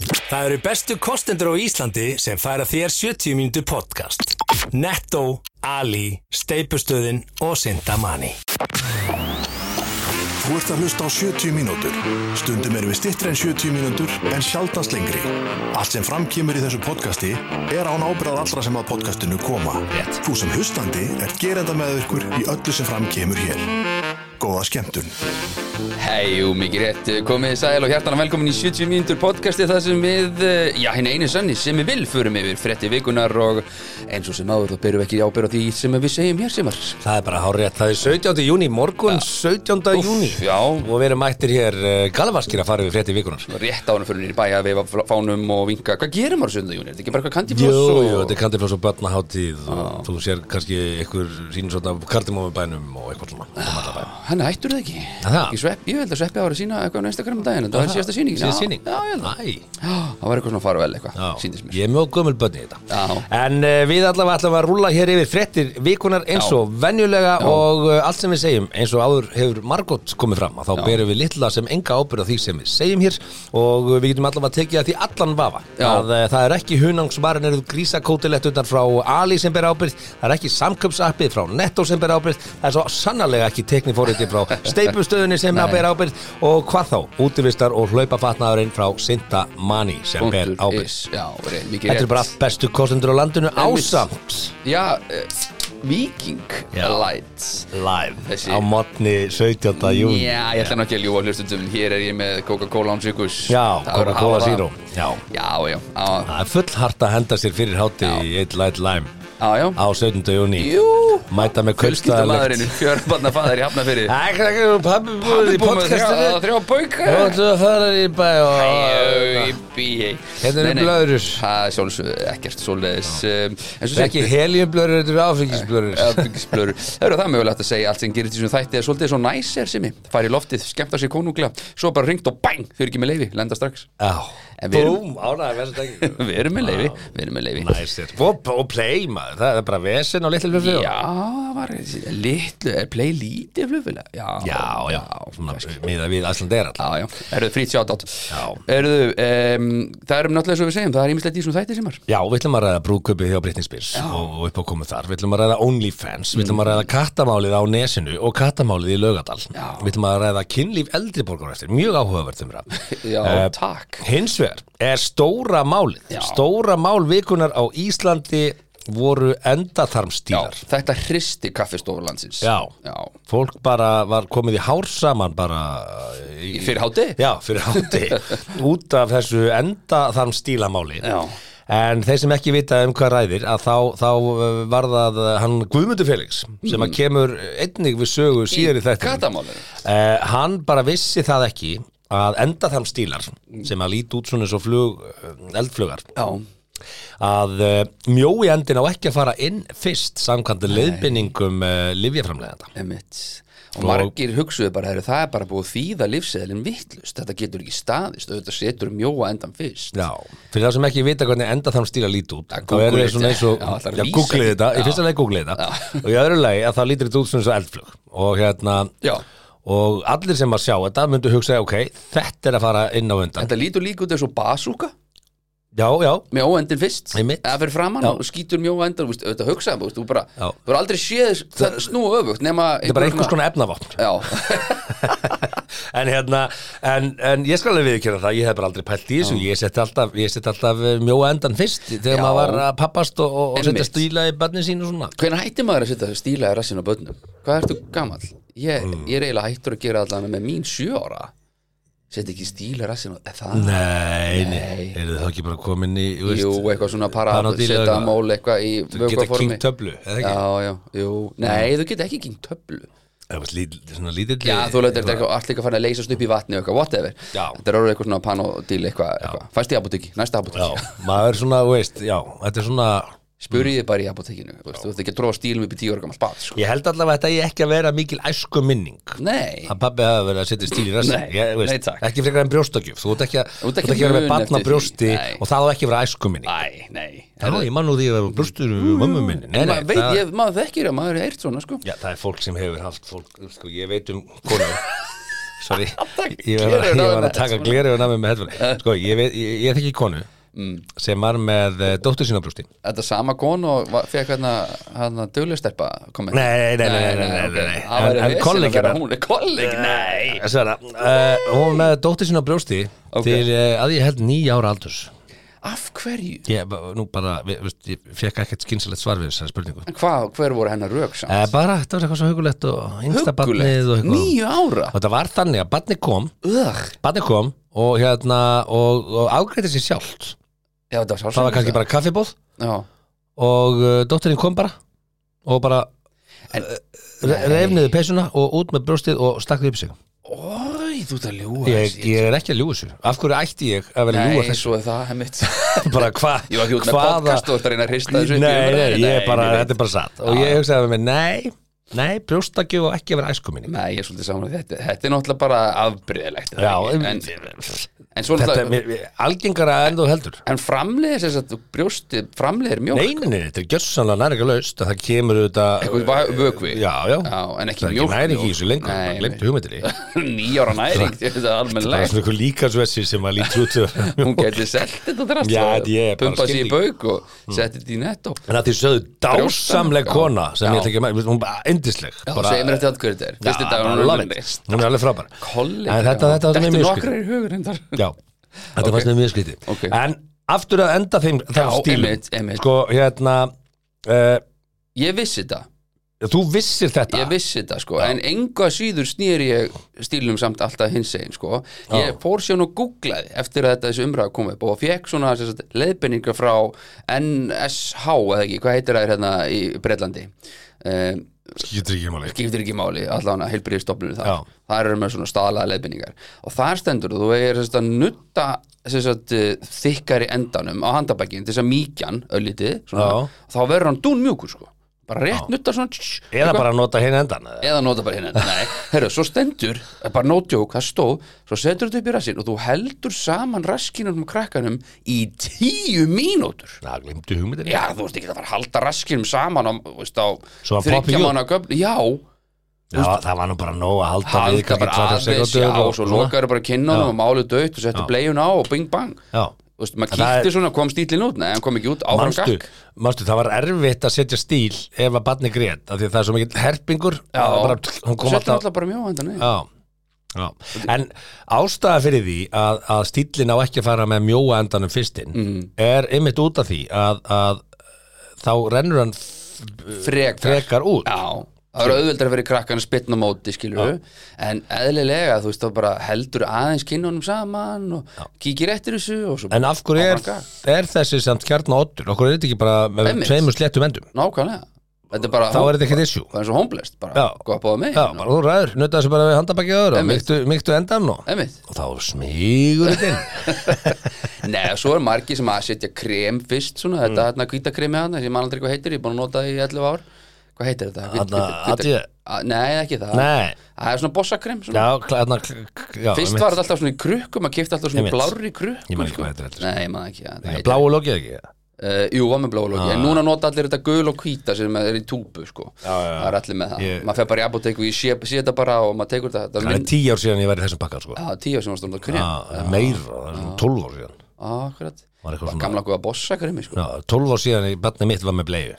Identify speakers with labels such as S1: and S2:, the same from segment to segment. S1: Það eru bestu kostendur á Íslandi sem færa þér 70 mínútu podcast. Netto, Ali, Steipustöðin og Sindamani.
S2: Þú ert að hlusta á 70 mínútur. Stundum erum við stittri en 70 mínútur en sjaldast lengri. Allt sem framkýmur í þessu podcasti er án ábyrðað allra sem að podcastinu koma.
S1: Rétt.
S2: Þú sem hlustandi er gerenda með ykkur í öllu sem framkýmur hér. Góða skemmtun.
S3: Hei, jú, mikið rétt, eh, komið þið sæl og hjartan og velkomin í 70 mínútur podcasti þar sem við, eh, já, hinn einu sanni sem við vil förum yfir frétti vikunar og eins og sem áður þá berum við ekki ábyrð á því sem við segjum hér sem var
S1: Það er bara hárétt. Það er 17. júni, morgun 17.
S3: Úff,
S1: júni.
S3: já.
S1: Og við erum mættir hér uh, galvaskir að fara við frétti vikunar.
S3: rétt ánum fyrir niður í bæ að við fánum og vinka, hvað gerum maður söndag, Júni, er þetta ekki bara eitthvað
S1: Jú,
S3: kandifloss og...
S1: jú, þetta er kandifloss og börnaháttíð og þú sér kannski einhver sín svona kardimómubænum og eitthvað svona. út um allan bæ.
S3: Hann hættur það ekki,
S1: Aha.
S3: ekki svepp, ég held að sveppi ára sína eitthvað á Instagram um daginn, þetta var síðasta síning
S1: Síðasta sýning?
S3: Já, ég held að,
S1: Æ.
S3: Já, það var eitthvað svona farvel eitthvað,
S1: Já,
S3: síndist mér
S1: ég er mjög gömul bönni í þetta
S3: Já.
S1: En uh, við allavega ætlum að rúlla hér yfir frettir vikunar eins
S3: Já.
S1: og venjulega og uh, allt sem við segjum eins og áður hefur margótt komið fram að þá
S3: Já.
S1: berum við litla sem enga ábyrð á því sem við segjum hér og uh, við getum allavega að tekið að því allan vafa
S3: Já.
S1: að uh, það er ekki hunangsvarin eru grísakótilettunar frá Ali sem ber ábyrð það er ekki samköpsappið frá Netto sem ber ábyrð það er svo sannarlega ekki teknifóriti frá steipustöðunni sem
S3: Nei.
S1: ber ábyrð og hvað þá, útivistar og hlaupafatnaðurinn frá Sinta Mani sem ber
S3: Punktur
S1: ábyrð
S3: is, Já, rétt, mikið rétt
S1: Þetta eru bara allt bestu kostendur á landinu
S3: Einmitt.
S1: ásamt
S3: Já, eh, Viking
S1: Já.
S3: Lights
S1: Live
S3: Þessi-
S1: á modni 17. júni
S3: Já, ég ætla nú ekki að ljúa hlustundum Hér er ég með Coca-Cola án sykus
S1: Já,
S3: Það verður að
S1: Coca-Cola
S3: hafa það.
S1: Zero. Já.
S3: Já, já, á,
S1: Það er full hart að henda sér fyrir háti
S3: Já.
S1: í eitt light lime
S3: á, já
S1: á 17. júni
S3: Jú.
S1: Mæta með
S3: Fjölskyldumadurinn,
S1: kvöldstæðalegt
S3: fjörbarna fæðar í hafnafyrir
S1: Ækla ekki um pabbi búið í
S3: búið með
S1: podcastinu
S3: þrjá- þrjá bauka.
S1: Þú ætlum að fara í bæ og Hérna eru blöðrur.
S3: Það er sjálfsög ekkert svoleiðis um, En svo
S1: Þetta er ekki heljublörur, þetta eru áfengisblörur
S3: Öfningisblöru Það eru það mögulegt að segja allt sem gerir þessum þætti er svolítið svo næsir sem ég fær í loftið, skemmta sér konunglega svo bara ringt og bang, þau eru ekki með leifi, lenda strax
S1: Já,
S3: En við erum-
S1: búm, ánægði verðs þetta ekki
S3: Við erum með leifi, við erum með leifi
S1: Næsir Og og play maður, það er bara vesen á litlu hlutu
S3: Já, það var litlu, er play lítið flugfélag Já,
S1: Já, já, svona
S3: kannski.
S1: miða við Æslandeir alltaf
S3: Já, já, eruðu frýtt sjátt átt
S1: Já.
S3: Eruðu, um, það erum náttúrulega svo við segjum Það er ímislegt í þessum þætti sem var
S1: Já, við ætlum að ræða brúðkaupið hjá Britney Spears og, og upp á komu þar, við ætlum að ræða OnlyFans við ætlum að ræða kattamálið á Nesinu og kattamálið í Laugadal
S3: Mm. Já.
S1: við ætlum að ræða kynlíf eldri borgar eftir, mjög áhugavert um ræð
S3: Já, takk
S1: Hins vegar er stóra málið
S3: Já.
S1: stóra mál vikunar á Íslandi voru
S3: já,
S1: endatharmstílar
S3: Þetta hristi kaffistofur landsins
S1: Já.
S3: já.
S1: Fólk bara var komið í hár saman bara
S3: Í- fyrir hádegi?
S1: Já, fyrir háti út af þessu enda þarm stílamáli
S3: Já.
S1: En þeir sem ekki vita um hvað ræðir að þá, þá uh, var það uh, hann Guðmundur Felix sem að kemur einnig við sögu síðar í þetta
S3: katamálinu.
S1: Hann bara vissi það ekki að enda þarm stílar sem að líti út svona eins og flug, eh, eldflugar
S3: já,
S1: að uh, mjói endin á ekki að fara inn fyrst samkvæmt leiðbinningum uh, livjaframlegenda
S3: emitt Og margir hugsuðu bara, heru, það er bara búið að þýða lífseðlinn vittlust, þetta getur ekki staðist auðvitað setur um mjóa endan fyrst
S1: Já, fyrir þá sem ekki vita hvernig enda þann stíla lít út
S3: Já,
S1: þá er
S3: Google
S1: það
S3: þetta.
S1: svona eins og,
S3: Já, það er að
S1: já,
S3: lýsa
S1: googlið
S3: því.
S1: þetta í
S3: Já.
S1: fyrsta leið googlið þetta og í öðru leið að það lítur þetta út svona eins og eldflug og hérna
S3: Já.
S1: og allir sem að sjá þetta myndu hugsa ok, þetta er að fara inn á undan
S3: Þetta lítur líka út eins og basúka
S1: Já, já,
S3: með óendin fyrst
S1: Einmitt.
S3: eða fyrir framann og skýtur mjóa endan þú veist, auðvitað hugsaðum, þú veist, þú bara
S1: Já.
S3: þú er aldrei séð það snúa öfugt nema
S1: þetta er bara einhvers konar efnavopn
S3: Já,
S1: en hérna, en, en ég skal alveg viðkjöra það ég hef bara aldrei pælt í þessu ég setti alltaf, ég setti alltaf eh, mjóa endan fyrst þegar
S3: Já.
S1: maður var að pappast og, og, og setja
S3: Einmitt.
S1: stíla í barni sín og svona
S3: hvernig hættir maður að setja stíla í rassin á börnum? Hvað ertu gamall? Ég,
S1: Mm.
S3: ég er eiginlega hættur að gera allan með mín sjö ára setja ekki stíla í rassin á er það
S1: Nei, nei, eru þá ekki bara komin í þú veist,
S3: Jú, eitthvað svona para
S1: Panodil eða
S3: setja
S1: eitthvað.
S3: mól eitthvað í
S1: geta
S3: vökvaformi
S1: kynkt töflu, eða ekki? Mm.
S3: Já, já, jú, nei, þú geta ekki kynkt töflu
S1: Það var lít, svona lítill
S3: Já, þú lögður þetta eitthvað allt líka farin að leysast upp í vatni og eitthvað, whatever
S1: Já.
S3: Þetta er orðið eitthvað svona panodil eitthvað, eitthvað. Fæst í apotekki, næsta apotekki
S1: Já, maður er svona, þú veist, já, þetta er svona
S3: spurði þið bara í apotekinu þú veist, þú ert ekki að tróða stílum upp í tíu ára gammal bad sko.
S1: Ég held allavega að þetta eigi ekki að vera mikil æsku minning
S3: nei,
S1: að pabbi hafa verið að setja stíl í rassin
S3: Nei,
S1: ég, þú
S3: nei, takk.
S1: Ekki frekar en brjóstakjöf, þú ert ekki að
S3: Þú
S1: Þú
S3: ert
S1: ert
S3: ekki
S1: ekki að vera með
S3: mun
S1: barna
S3: eftir því,
S1: brjósti
S3: nei.
S1: og það á ekki að vera æsku minning
S3: æ, nei
S1: Já, ég man nú því að vera brjóstur og mömmu minni Nei, nei,
S3: maður veit,
S1: það-
S3: ég, maður þekkir að maður er eirt svona sko.
S1: Já, það er fólk sem hefur haft fólk, sko, ég veit um konur sorry ég var, að- ég var að
S3: sko.
S1: taka gleraugun af mér með headphone sko, ég, veit- ég, ég þekki konu
S3: Mm.
S1: sem var með uh, dóttur sína á brústi
S3: Þetta er sama kon og fekk hérna, hérna duglustelpa komið
S1: Nei, nei, nei, nei, nei, nei, nei, nei.
S3: Það
S1: En- hérna-
S3: væri
S1: en
S3: vesen að
S1: kolleginn
S3: vera
S1: hennar.
S3: hún Kolleg, nei
S1: Svara, uh, hún var með dóttur sína á brústi
S3: Ok.
S1: til uh, að ég held nýja ára aldurs
S3: Af hverju?
S1: ég, ba- nú bara, við, veist, ég fekk ekkert skynsilegt svar við þessari spurningu
S3: En hvað, hver voru hennar rök samt?
S1: Eh, bara, þetta var eitthvað svo hugulegt og yngsta barnið og
S3: Huggulegt,
S1: eitthvað
S3: níu ára
S1: og þetta var þannig að barnið kom
S3: Ugh.
S1: barnið kom og hérna og, og ágreiti sér sjálft
S3: Já, þetta var sjálfsagt
S1: það var kannski bara kaffibóð
S3: Já,
S1: og uh, dóttirinn kom bara og bara eh,
S3: en
S1: re- reif niður peysuna og út með brjóstið og stakk því upp í sig
S3: Ói, þú ert að ljúga
S1: ég, ég er ekki að ljúga þessu af hverju ætti ég að vera að ljúga
S3: Nei,
S1: þessu
S3: svo er það hemmitt
S1: bara hva,
S3: Ég var ekki út með podcast og þú ert að reyna að hrista þessu upp í
S1: nei, nei,
S3: umræðinni.
S1: ég er bara,
S3: veit.
S1: þetta er bara satt og ég hugsaði með mér, nei, nei, brjóstakju og ekki að vera æskuminni
S3: Nei, ég er svolítið saman að þetta Þetta er náttúrulega bara afbreyðilegt
S1: Já,
S3: en, en svo
S1: þetta er
S3: náttúrulega
S1: mér- mér- algengara en þú heldur
S3: En framleiðir þess að brjósti framleiðir mjólk
S1: Nei, nei, nei, þetta er gjössanlega næringarlaust að það kemur
S3: Eitthvað
S1: auðvitað
S3: va- vökvi
S1: Já, já,
S3: Já, en ekki
S1: það er ekki
S3: mjólk
S1: næring í þessu lengur,
S3: Nei,
S1: bara glemtu hugmyndinni
S3: Nýjára næring, þetta er
S1: Það er
S3: almennilegt
S1: svona ykkur líkansvessi sem að lítur út fyrir-
S3: Hún geti selt þetta drast
S1: Já,
S3: og
S1: ég er bara Mm.
S3: pumpað sér í
S1: skildi.
S3: bauk og setti þetta í netto
S1: En að því sögðu dásamleg
S3: Já.
S1: kona sem
S3: Já.
S1: ég ætla ekki að mæta, hún bara endisleg
S3: Já,
S1: bara,
S3: segir mér þetta hvað þetta er Fyrsti dagur
S1: bara
S3: hún er
S1: love
S3: unni.
S1: it. Hún er alveg frábær
S3: Kolli
S1: En þetta, þetta var
S3: Þetta
S1: mjög
S3: nokkrar
S1: skrítið
S3: í hugur reyndar.
S1: Já, þetta
S3: Ok.
S1: fannst mér mjög skrítið
S3: Ok.
S1: En aftur að enda þeim
S3: Já,
S1: þeim stílum
S3: einmitt, einmitt.
S1: Sko, hérna uh,
S3: Ég vissi þetta
S1: Þú vissir þetta
S3: Ég vissi þetta sko, en enga síður snýri ég stílnum samt alltaf hins einn sko. Ég fór síðan og googlaði eftir að þetta þessi umræða kom upp og fekk svona sem sagt, leiðbendingar frá NSH eða ekki, hvað heitir það hérna í Breitlandi um,
S1: Skýtur ekki máli
S3: skiptir ekki máli, allan að heilbriðstofnunum
S1: Já.
S3: þar, þar eru með svona staðlega leiðbendingar og þar stendur þú er þess að nutta þess að þykkari endanum á handabækin þess að mýkjan öllítið svona, þá verður hann dún mjúkur sko bara rétt nutta svona tss,
S1: Eða
S3: eitthvað
S1: bara að nota hinn endan eða?
S3: eða nota bara hérna nei, herru, svo stendur, eh, bara nótjók, það stóð svo setur þetta upp í rassin og þú heldur saman raskinum um krakkanum í tíu mínútur
S1: Já, glimtu hugmyndinni
S3: já, þú veist ekki að fara að halda raskinum saman á, þú veist, á
S1: Svo hann poppi
S3: þriggja
S1: jú.
S3: mánaða göfn já,
S1: Já, það var nú bara nóg að halda við
S3: halda
S1: kannski
S3: bara
S1: 25
S3: aðeins já,
S1: sekúndur
S3: og svo lokaður bara kinnanum og málu döitt og settu bleiun á og bing bang
S1: Já.
S3: þú veist, maður
S1: En það er-
S3: kíkti svona, kom stílinn út nei, hann kom ekki út, áfram
S1: Manstu,
S3: gakk
S1: manstu, það var erfitt að setja stíl ef að barni grét, af því að það er svo mikill herpingur
S3: já,
S1: að bara, hún kom
S3: settu
S1: alltaf
S3: alltaf bara mjó hendan nei.
S1: já, já. en ástæða fyrir því að, að stílinn á ekki að fara með mjóa endanum fyrstinn
S3: Mm.
S1: er einmitt út af því að, að þá rennur hann
S3: frekar
S1: frekar út
S3: Já, það eru auðveldar að vera krakkan að spytna móti, skilur en eðlilega, þú veist, þá bara heldur aðeins kinnunum saman og kíkir eftir þessu og svo
S1: en af hverju er,
S3: Áfram
S1: er þessi samt kjarn á oddur okkur er þetta ekki bara með
S3: Einmitt.
S1: tveimur sléttum endum
S3: nákvæmlega, þetta er bara
S1: þá er þetta ekkert issue
S3: það er svo homblest, bara,
S1: Já.
S3: gott bóða mig
S1: Já, bara þú ræður, nötta þessu bara við handabakið öðru og
S3: Einmitt.
S1: myktu, myktu endan og,
S3: Einmitt.
S1: og þá smýgur þetta inn
S3: Nei, og svo er margir sem að setja krem fyrst svona, þetta
S1: Mm.
S3: hérna kvítakremi hann ég man aldrei hvað heitir, ég er búin að nota það í 11 ár Hvað heitir þetta? Hvít-
S1: Þarna,
S3: hvít- hvíta-
S1: AD?
S3: A- Nei, ekki það
S1: Nei,
S3: Það er svona bossakrem svona.
S1: já, klæðna
S3: Fyrst
S1: já, einmitt.
S3: var þetta alltaf svona í krukkum, að kipta alltaf svona
S1: Einmitt.
S3: blárri krukkum
S1: Ég man ekki
S3: sko.
S1: hvað þetta er heldur.
S3: Nei, ég man ekki ja,
S1: Nei, Bláu lokið ekki
S3: Uh, jú, var með bláa lóki, en núna nota allir þetta gul og hvíta sem er í túpu, sko
S1: Ah. já.
S3: Það er allir með það,
S1: Ég-
S3: maður fer bara í apotek og ég sé, sé þetta bara og maður tekur þetta Það
S1: Það
S3: er
S1: er
S3: minn,
S1: tíu ár síðan ég væri í þessum bakka sko.
S3: já, tíu sem var stundar krem
S1: Já, Meira, það er svona 12 ár síðan
S3: Akkurat,
S1: Var
S3: bara
S1: eitthvað svona-
S3: gamla góða bossa kremi, sko
S1: Já, 12 ár síðan í barnið mitt var með bleiðu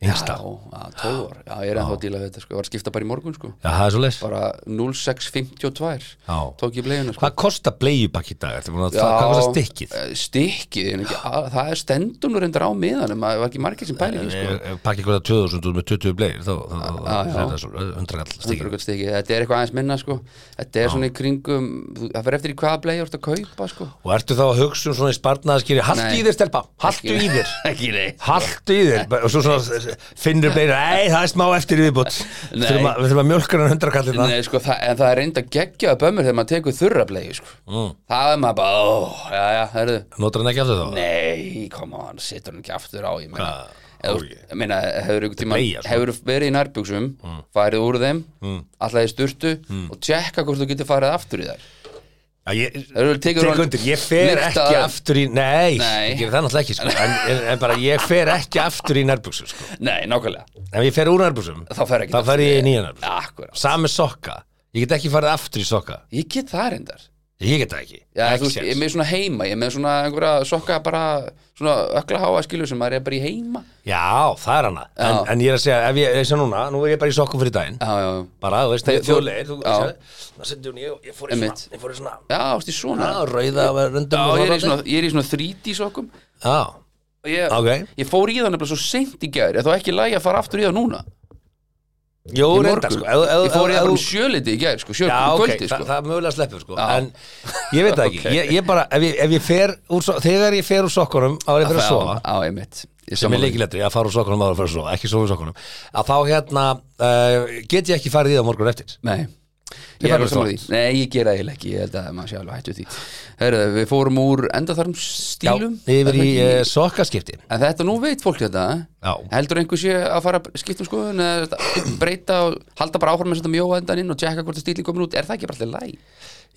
S1: Yngsta
S3: Já, já, 12 ár, já, ég er
S1: Ah.
S3: ennþá að díla við þetta, sko Ég var að skipta bara í morgun, sko
S1: Já, það er svo leis
S3: Bara 0652
S1: Já.
S3: Tók ég bleginu, sko
S1: Hvað kostar blegjubakk í dag? Ertu búin að- það- Hvað kostar stikkið?
S3: eh, Stykkið, en ekki, að, það er stendum nú reyndar á miðanum, það var ekki margir sem pælingi, sko
S1: Eh, Pakki hverja 2000 út með 20 blegjur þá þá-
S3: Já,
S1: þá-
S3: já.
S1: þá- það er svo eh, 100 all stikkið
S3: Hundruðkvæmt stykki, þetta er eitthvað aðeins minna sko Þetta er svona í kringum, þú- það fyrir eftir í hvaða bleið þú ert að kaupa sko
S1: Og ertu þá að hugsa um svona í sparnaðaskýri Haltu
S3: Nei.
S1: í þér stelpa, haltu í þér
S3: Ekki neitt
S1: Haltu í þér og svo svona eh, finnur blegjur Ei, það er smá eftir í viðbútt Við
S3: Nei.
S1: þurfum að- við þurfum að mjölkur hann 100 kallina
S3: Nei, sko, það, en það er reynda geggjaða bömmur þegar maður tekur þurra bleið sko
S1: Mm.
S3: Það er maður bara, ó, já, já, herðu
S1: Notar hann ekki aftur þá?
S3: Nei, koma, hann setur hann ekki aftur á ég meina,
S1: Hvað?
S3: Eða þú- ég meina hefur, tíma,
S1: bleia, sko.
S3: hefur verið í nærbuxum farið úr þeim, mm. alltaf í sturtu
S1: Mm.
S3: og tjekka hvort þú getur farið aftur í þær
S1: Já, ég,
S3: Þeir eru- tekur
S1: Tek
S3: hann-
S1: undir, ég fer
S3: lykta-
S1: ekki aftur í Nei,
S3: Nei.
S1: ég gerir það náttúrulega ekki sko. en, en, en bara ég fer ekki aftur í nærbuxum sko.
S3: Nei, nákvæmlega,
S1: Ef ég fer úr nærbuxum
S3: þá fer ekki
S1: Þá fer ég í nýja nærbuxum
S3: Akkurat
S1: Sami sokka Ég get ekki farið aftur í sokka
S3: Ég get það reyndar
S1: Ég get það ekki,
S3: Já,
S1: ekki
S3: þú veist, ég er
S1: séns.
S3: með svona heima, ég er með svona einhverja sokka bara svona ökla háa skilu sem maður er bara í heima
S1: Já, það er hana en,
S3: Já.
S1: en ég er að segja, ef ég, ég sé núna, nú er ég bara í sokkum fyrir daginn
S3: Já, já, já,
S1: Bara, þú veist, það er
S3: Þú-
S1: þjóðlegir þú-
S3: Já.
S1: Það sendi hún, ég, ég fór í
S3: Einmitt.
S1: svona Ég fór í svona,
S3: já, ástu svona
S1: já, rauða röndum
S3: Já,
S1: og
S3: ég er í
S1: horfandi.
S3: svona, ég er í svona 3D sokkum
S1: Já,
S3: og ég,
S1: ok
S3: ég fór í það nefnilega svo seint í gær, ég þá ekki lægi að fara aftur í það núna
S1: Jú,
S3: Í
S1: reyndar,
S3: morgun.
S1: sko ef- ef-
S3: Ég fór í
S1: ef-
S3: það bara um
S1: ef-
S3: sjöliti í gær, sko,
S1: Já,
S3: sjöliti um
S1: ok,
S3: kvöldi,
S1: það,
S3: sko
S1: það mögulega sleppur, sko
S3: Já.
S1: En ég veit það ekki,
S3: Ok.
S1: ég, ég bara, ef ég, ef ég fer úr, so- Þegar ég fer úr sokkunum, á ég fyrir að sofa
S3: Já, já, einmitt Ég
S1: sem er
S3: sammála.
S1: líkilegri að fara úr sokkunum áður að fara að sofa, ekki sofa úr sokkunum að þá hérna uh, get ég ekki farið í það morgun eftir
S3: Nei Ég
S1: Þið
S3: er
S1: farið
S3: alveg sammála
S1: þótt.
S3: því Nei, ég gera eiginlega ekki, ég held að maður sé alveg hættu því Herðu, við fórum úr endaþarm stílum
S1: Já, yfir í uh, sokkaskipti
S3: En þetta nú veit fólk þetta eh?
S1: Já.
S3: Heldur einhver sé að fara að skipta um skoðun eða þetta- breyta og halda bara áhorm með þetta mjóa endan inn og tjekka hvort það stílinn komin út Er það ekki bara allir læg?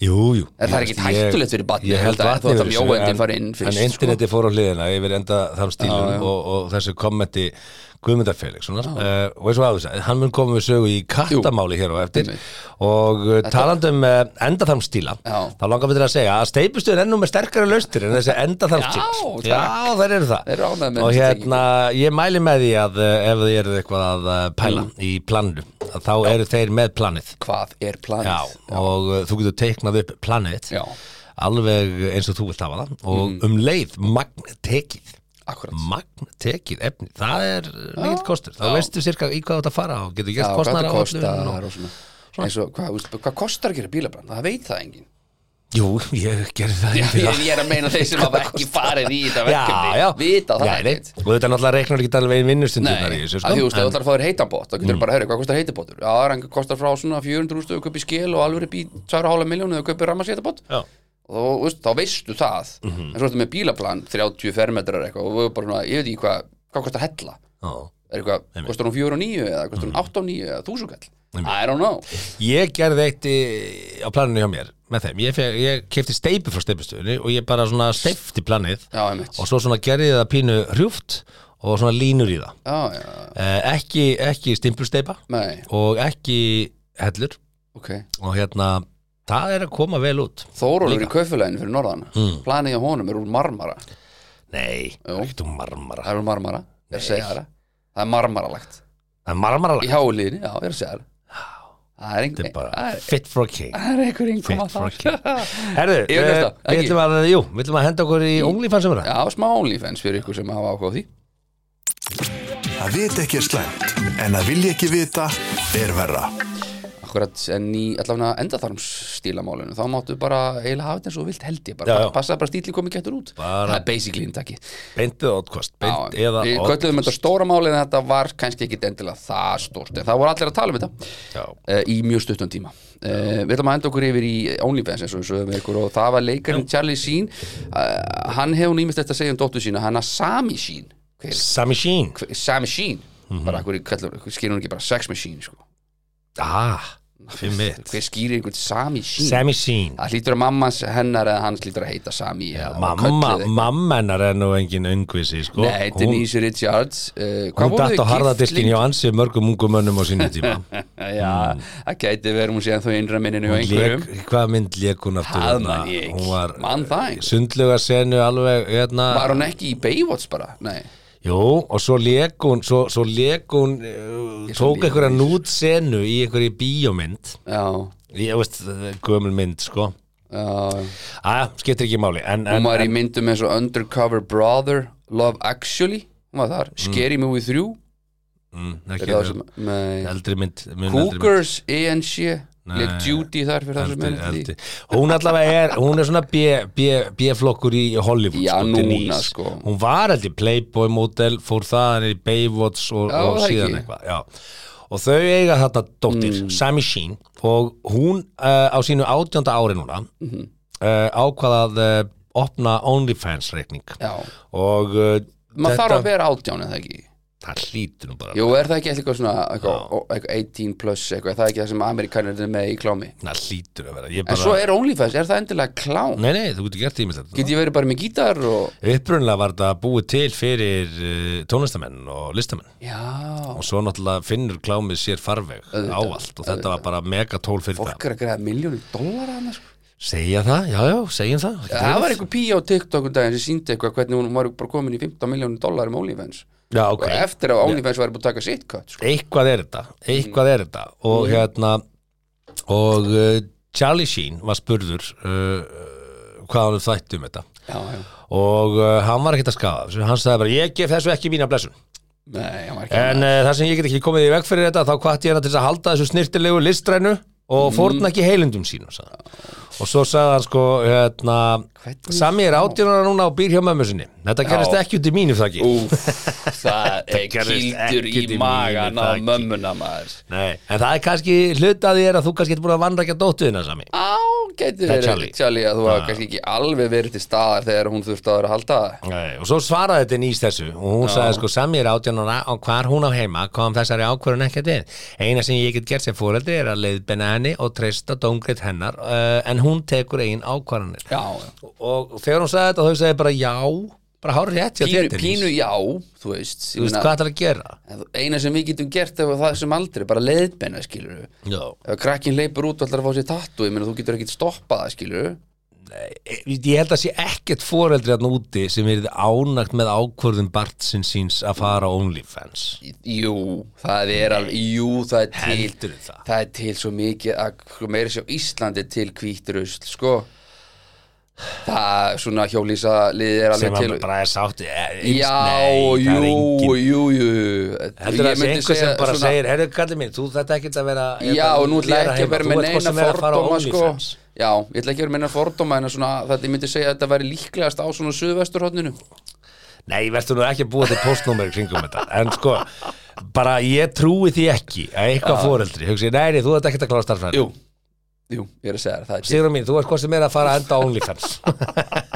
S1: Jú, jú
S3: Er það
S1: Ég-
S3: ekkit hættulegt fyrir barnið,
S1: Ég held
S3: þetta,
S1: vatnið
S3: þó að
S1: yfir
S3: það
S1: þessu,
S3: mjóendin
S1: en-
S3: fari inn fyrst, sko.
S1: En interneti fór á hliðina yfir enda þann stílum
S3: Já, já.
S1: Og, og þessu kommenti Guðmundar Felix uh, og eins og aður sagði, hann mun koma við sögu í kattamáli hér og eftir
S3: Einmitt.
S1: og uh, talandi um uh, endaþarmstíla
S3: Já.
S1: þá langar við til að segja að steipustuður ennum með sterkara laustir en þessi endaþarmstíla
S3: Já,
S1: já þær eru það
S3: Þeir eru ánægðir með
S1: og
S3: þessa
S1: hérna, ég mæli með því að uh, ef þið eruð eitthvað að uh, pæla í planinu, að þá eru þeir með planið
S3: Hvað er planið?
S1: Já, og uh, þú getur teiknað upp planið
S3: Já. Mhm.
S1: alveg eins og þú vilt hafa það og um leið magn tekið
S3: Akkurat
S1: magn tekið efni, það er mikill kostur þá
S3: Já.
S1: veistu sirka í hvað þú ert að fara og getur
S3: Já,
S1: gert
S3: hvað
S1: kostnar
S3: það
S1: á
S3: kostar
S1: öllu og-
S3: og svona eins og hvað, þú veist, hvað kostar að gera bílabrand það veit það enginn
S1: Jú, ég gerði það í
S3: ég,
S1: fyrra.
S3: ég er að meina þeir sem hafa ekki farið í þetta
S1: Já,
S3: verkefni
S1: já
S3: vita það
S1: Já, nei.
S3: ekkert
S1: Og þetta náttúrulega reiknar ekki alveg vinnustundunar
S3: Nei,
S1: í þessu sko.
S3: að því þú veist, ef þú ætlar
S1: En-
S3: að fá þér heitan bót þá getur mm. bara að höra hvað kostar heitan bótur Já, hann kostar frá svona 400 stöðu kaupi skil og alveg upp í 2,5 miljónu þau kaupi rammas heitan bót
S1: Já.
S3: og þú veist, þá veistu það
S1: Mhm.
S3: en svo ertu með bílaplan, 30 fermetrar eitthvað og við bara, svona, ég veit ekki hvað, hvað kostar hella
S1: Já.
S3: er eitthvað, kostar hún 4 og 9 eða kostar
S1: Mhm.
S3: hún 8 og 9 eða 1000 kall I don't know
S1: Ég gerði eitt í, á planinu hjá mér með þeim, ég, feg, ég kefti steipu frá steipustuðinu og ég bara svona steifti planið
S3: Já, einmitt
S1: og svo svona gerði ég það pínu hrjúft og svona línur í það
S3: Já, já, já.
S1: eh, ekki, ekki stimpulsteipa
S3: nei,
S1: og ekki hellur
S3: ok
S1: og hérna, það er að koma vel út
S3: Þórólfur í kaufuleginu fyrir norðana
S1: Mm.
S3: planið á honum er úr marmara
S1: Nei,
S3: Jú.
S1: ekkert um marmara
S3: það er úr marmara, ég er að segja það það er marmaralagt
S1: Það er marmara
S3: í
S1: lag,
S3: háliðinu, já, ég er að segja það það er
S1: þetta er
S3: einhver
S1: bara
S3: það er-
S1: fit for king
S3: það er einhver
S1: Fit
S3: einhver
S1: for king Herðu,
S3: Ég vil
S1: eh,
S3: hlusta,
S1: við
S3: ekki.
S1: ætlum að, jú, við ætlum að henda okkur í OnlyFans-umræð
S3: já, smá OnlyFans fyrir ykkur sem hafa ákváð því
S2: Að vita ekki er slæmt, en að vilja ekki vita er verra.
S3: Akkurat, en í allavega endaþarms stílamálinu, þá máttu bara eiginlega hafa þetta eins og þú vilt held ég, bara
S1: Já, já.
S3: passa bara stíli komið getur út
S1: Bara-
S3: það er basically inntaki
S1: Beintið oddkost, beint
S3: Já,
S1: eða
S3: Við
S1: oddkost
S3: köllum þetta stóra máli en þetta var kannski ekki endilega það stórt en það voru allir að tala um þetta
S1: Já.
S3: uh, í mjög stuttum tíma uh, Við ætlum að enda okkur yfir í OnlyFans eins og við sögum ykkur og það var leikarinn Charlie Sheen uh, hann hefur nýmist þetta að segja um dóttu sína hana Sami Sheen hver,
S1: Sami Sheen
S3: hver, Sami Sheen
S1: Mhm.
S3: bara hverju kallur, hver skýrir hún ekki bara sex machine sko.
S1: Ah, fyrir mitt
S3: hver skýrir einhvern Sami Sheen
S1: Sami Sheen
S3: það hlýtur að mammans hennar eða hans hlýtur að heita Sami eða
S1: Mamma,
S3: kölluð-
S1: mamma hennar er nú engin öngvisi sko.
S3: Nei, Denise Richards uh, hvað
S1: hún
S3: voru
S1: datt
S3: þau
S1: á harðadiskinn
S3: gift
S1: hjá ansi mörgum ungum mönnum á sínum tíma
S3: Já, það gæti verið hún síðan þó innra minninu og
S1: Hún
S3: einhverjum
S1: lék- Hvað mynd lék hún aftur?
S3: Það
S1: hérna?
S3: man ég ekki.
S1: Hún var
S3: Man það ekki.
S1: sundluga senu alveg hérna
S3: Var hún ekki í Baywatch bara? Nei,
S1: Jú, og svo lék hún svo, svo lék hún uh, tók einhverja nút senu í einhverju bíómynd
S3: já,
S1: Ég veist, það er gömul mynd sko
S3: já
S1: Æja, skiptir ekki máli en, en,
S3: Hún var í
S1: en,
S3: myndum eins og Undercover Brother Love Actually, hún var þar Scary Movie 3
S1: mm,
S3: fyrir
S1: ekki,
S3: þá sem, nei,
S1: Eldri mynd mun eldri mynd.
S3: Cougars, E ENC Leik
S1: Nei.
S3: Judy þar fyrir það sem
S1: Eldi,
S3: er
S1: eldi. hún allavega er hún er svona B- B- B-flokkur í Hollywood
S3: Já,
S1: sko,
S3: núna,
S1: Denise.
S3: sko.
S1: hún var aldrei Playboy model fór þaðan í Baywatch og,
S3: Já,
S1: og
S3: það
S1: síðan
S3: ekki. Mm.
S1: eitthvað já. og þau eiga þetta dóttir Sami Sheen og hún uh, á sínu átjönda ári núna
S3: Mhm.
S1: uh, ákvað að uh, opna OnlyFans reikning
S3: Já,
S1: og uh,
S3: maður þarf að vera átján eða ekki
S1: það hlýtur nú bara
S3: Jú, er það ekki eitthvað svona eitthvað, ó- eitthvað 18 plus eitthvað, er það ekki það sem amerikanir er með í klámi
S1: það hlýtur að vera ég
S3: En svo
S1: bara,
S3: er OnlyFans, er það endilega klám?
S1: nei nei, þú getur gert ímislegt
S3: Get ég verið bara með gítar og
S1: upprunlega var þetta búið til fyrir uh, tónlistamenn og listamenn
S3: Já,
S1: og svo náttúrulega finnur klámið sér farveg ávallt og þetta var bara megatól fyrir
S3: fólk er að greiða miljónir dólar annars
S1: það segja það, já já, segjum það ekki
S3: sko. Það
S1: drifið.
S3: var eitthvað píja á TikTok um daginn sem síndi eitthvað hvernig hún var bara komin í 15 miljónir dólar um OnlyFans
S1: já,
S3: og
S1: okay.
S3: eftir að OnlyFans væri búið að taka sitt cut sko.
S1: eitthvað er þetta eitthvað er þetta
S3: Mhm.
S1: og hérna og uh, Charlie Sheen var spurður uh, uh, hvað hann þætti um þetta
S3: Já, já,
S1: og uh, hann var ekkert að skafa þessu. hann sagði bara ég gef þessu ekki mína blessun
S3: nei, hann var ekki
S1: en uh, það sem ég get ekki komið í veg fyrir þetta þá hvati ég hana til þess að halda þessu snirtilegu listrænu og fórna ekki heilundum sínum sagði. hann. og svo sagði hann sko hérna,
S3: Hvernig
S1: Sami er átjónara núna og býr hjá mömmu sinni þetta gerist ekki út í mínu þakki
S3: Úf, það er
S1: gerðist
S3: kildur
S1: ekkert í
S3: í
S1: mínu
S3: magan á
S1: taki.
S3: mömmuna maður
S1: Nei. en það er kannski hlutaði er að þú kannski getur búin að vanrækja dóttuðina Sami
S3: Á, getur
S1: Það er
S3: verið
S1: Charlie.
S3: Charlie að þú var kannski ekki alveg verið til staðar þegar hún þurfti á þér að halda
S1: Nei, og svo svaraði þetta nýst þessu og hún sagði sko Sami er átjónuna og hvar hún á heima kom þessari ákvörðun ekkert við eina sem ég get gert sem fóreldri er að leiðbenna henni og treysta dómgrið hennar uh, en hún tekur eigin ákvarðanir
S3: Já,
S1: og þegar hún sagði þetta þau sagði bara já bara hár rétt hjá
S3: pínu,
S1: þér Dennis.
S3: pínu já, þú veist,
S1: þú veist hvað það er að gera
S3: hvað Eina sem við getum gert er það sem aldrei, bara leiðbenna skilur
S1: já.
S3: Ef krakkin leipur út og ætlar að fá sér tattu, ég meina þú getur ekkit stoppað það skilur
S1: E, ég held að sé ekkert foreldri hann úti sem er ánagt með ákvörðun Bartsin síns að fara á OnlyFans
S3: Jú, það er alveg, jú, það er til
S1: Heldurðu um það?
S3: er til svo mikið að sko, meira sér Íslandi til hvítrusl, sko Það, svona hjólísa liðið er
S1: sem
S3: alveg
S1: að
S3: til
S1: bara er e, sátti
S3: Já, jú, jú, jú, jú
S1: Heldur
S3: Ég
S1: það sé
S3: myndi
S1: einhver sem
S3: segja
S1: bara
S3: svona-
S1: segir, herru kallið mín, þú þetta ekkert að vera
S3: Já, og nú ætla ég ekki
S1: læra
S3: að
S1: heima,
S3: vera með
S1: þú ert hvort
S3: neina
S1: sem er að fara á
S3: fordóma sko.
S1: OnlyFans."
S3: Já, ég ætla ekki að vera með neina fordóma en að svona, þetta, ég myndi segja að þetta væri líklegast á svona suðvesturhóttninu
S1: Nei, verður nú ekki að búa til postnúmer kringum þetta En sko, bara ég trúi því ekki að eitthvað fóreldri Hugsi, nei, nei, þú ert ekkert að klára starfræði
S3: Jú, jú, ég er að segja þér, það er til.
S1: Sigrun mín, þú ert hvað sem er að fara að enda á OnlyFans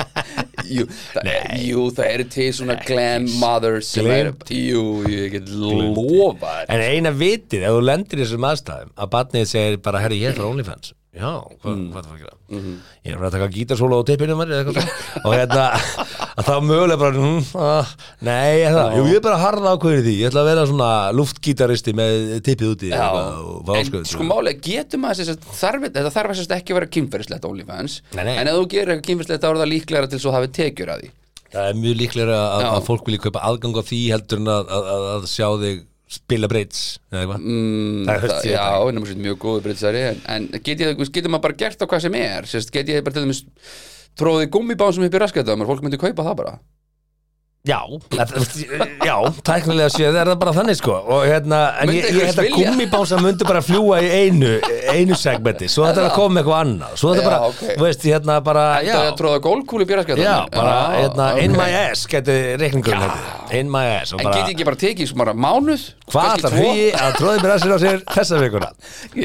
S3: jú, það, jú, það eru til svona glam mothers sem
S1: Glam-
S3: eru, Jú, jú, ég get lofa þér.
S1: En eina vitið, ef þú lendir í þessum aðstæðum að barnið segir bara, herri, ég er frá OnlyFans Já, hva,
S3: Mm.
S1: hvað það var að gera?
S3: Mhm.
S1: Ég er bara að taka gítarsóla á tippinu mér eða eitthvað svona. og hérna, að það mögulega bara hm, ah, Nei, ég, það, jú, ég er bara að harða ákveður því Ég ætla að vera svona luftgítaristi með tippið úti
S3: Já,
S1: eitthvað og vá,
S3: en sko málega getur maður þess að þarf, þetta þarf þess að ekki að vera kynferðislegt OnlyFans,
S1: Nei, nei.
S3: en ef þú gerir eitthvað kynferðislegt þá er það líklegra til svo hafi tekjur að því
S1: Það er mjög líklega að,
S3: Já.
S1: að fólk vilja kaupa aðgang á því heldur en að, að, að- að sjá þig spila breyts eða eitthvað mm, Það er höfst
S3: Það-
S1: því
S3: Já, en það er mjög góðu breytisari en, en get ég, getur maður bara gert á hvað sem er sérst, get ég bara til dæmis tróði gummibánsum upp í raskatum og fólk myndi kaupa það bara
S1: Já, það- já, tæknilega séð er það bara þannig sko og hérna, en
S3: Myndi
S1: ég, ég
S3: einhvers
S1: held að
S3: vilja?
S1: gummibása myndi bara fljúa í einu einu segmenti, svo þetta er að koma með eitthvað annað svo þetta
S3: Já,
S1: bara,
S3: ok.
S1: þú veist, hérna bara
S3: Ætti
S1: já,
S3: að tróða gólkúlu upp í raskatum
S1: já, bara, hérna, in my ass geti reikningurinn þetta, in my ass og
S3: En get
S1: bara,
S3: ég ekki bara tekið svona mánuð
S1: hvað
S3: Kannski
S1: ætlar
S3: tvo?
S1: hugi að tróði mér að sér á sér þessa vikuna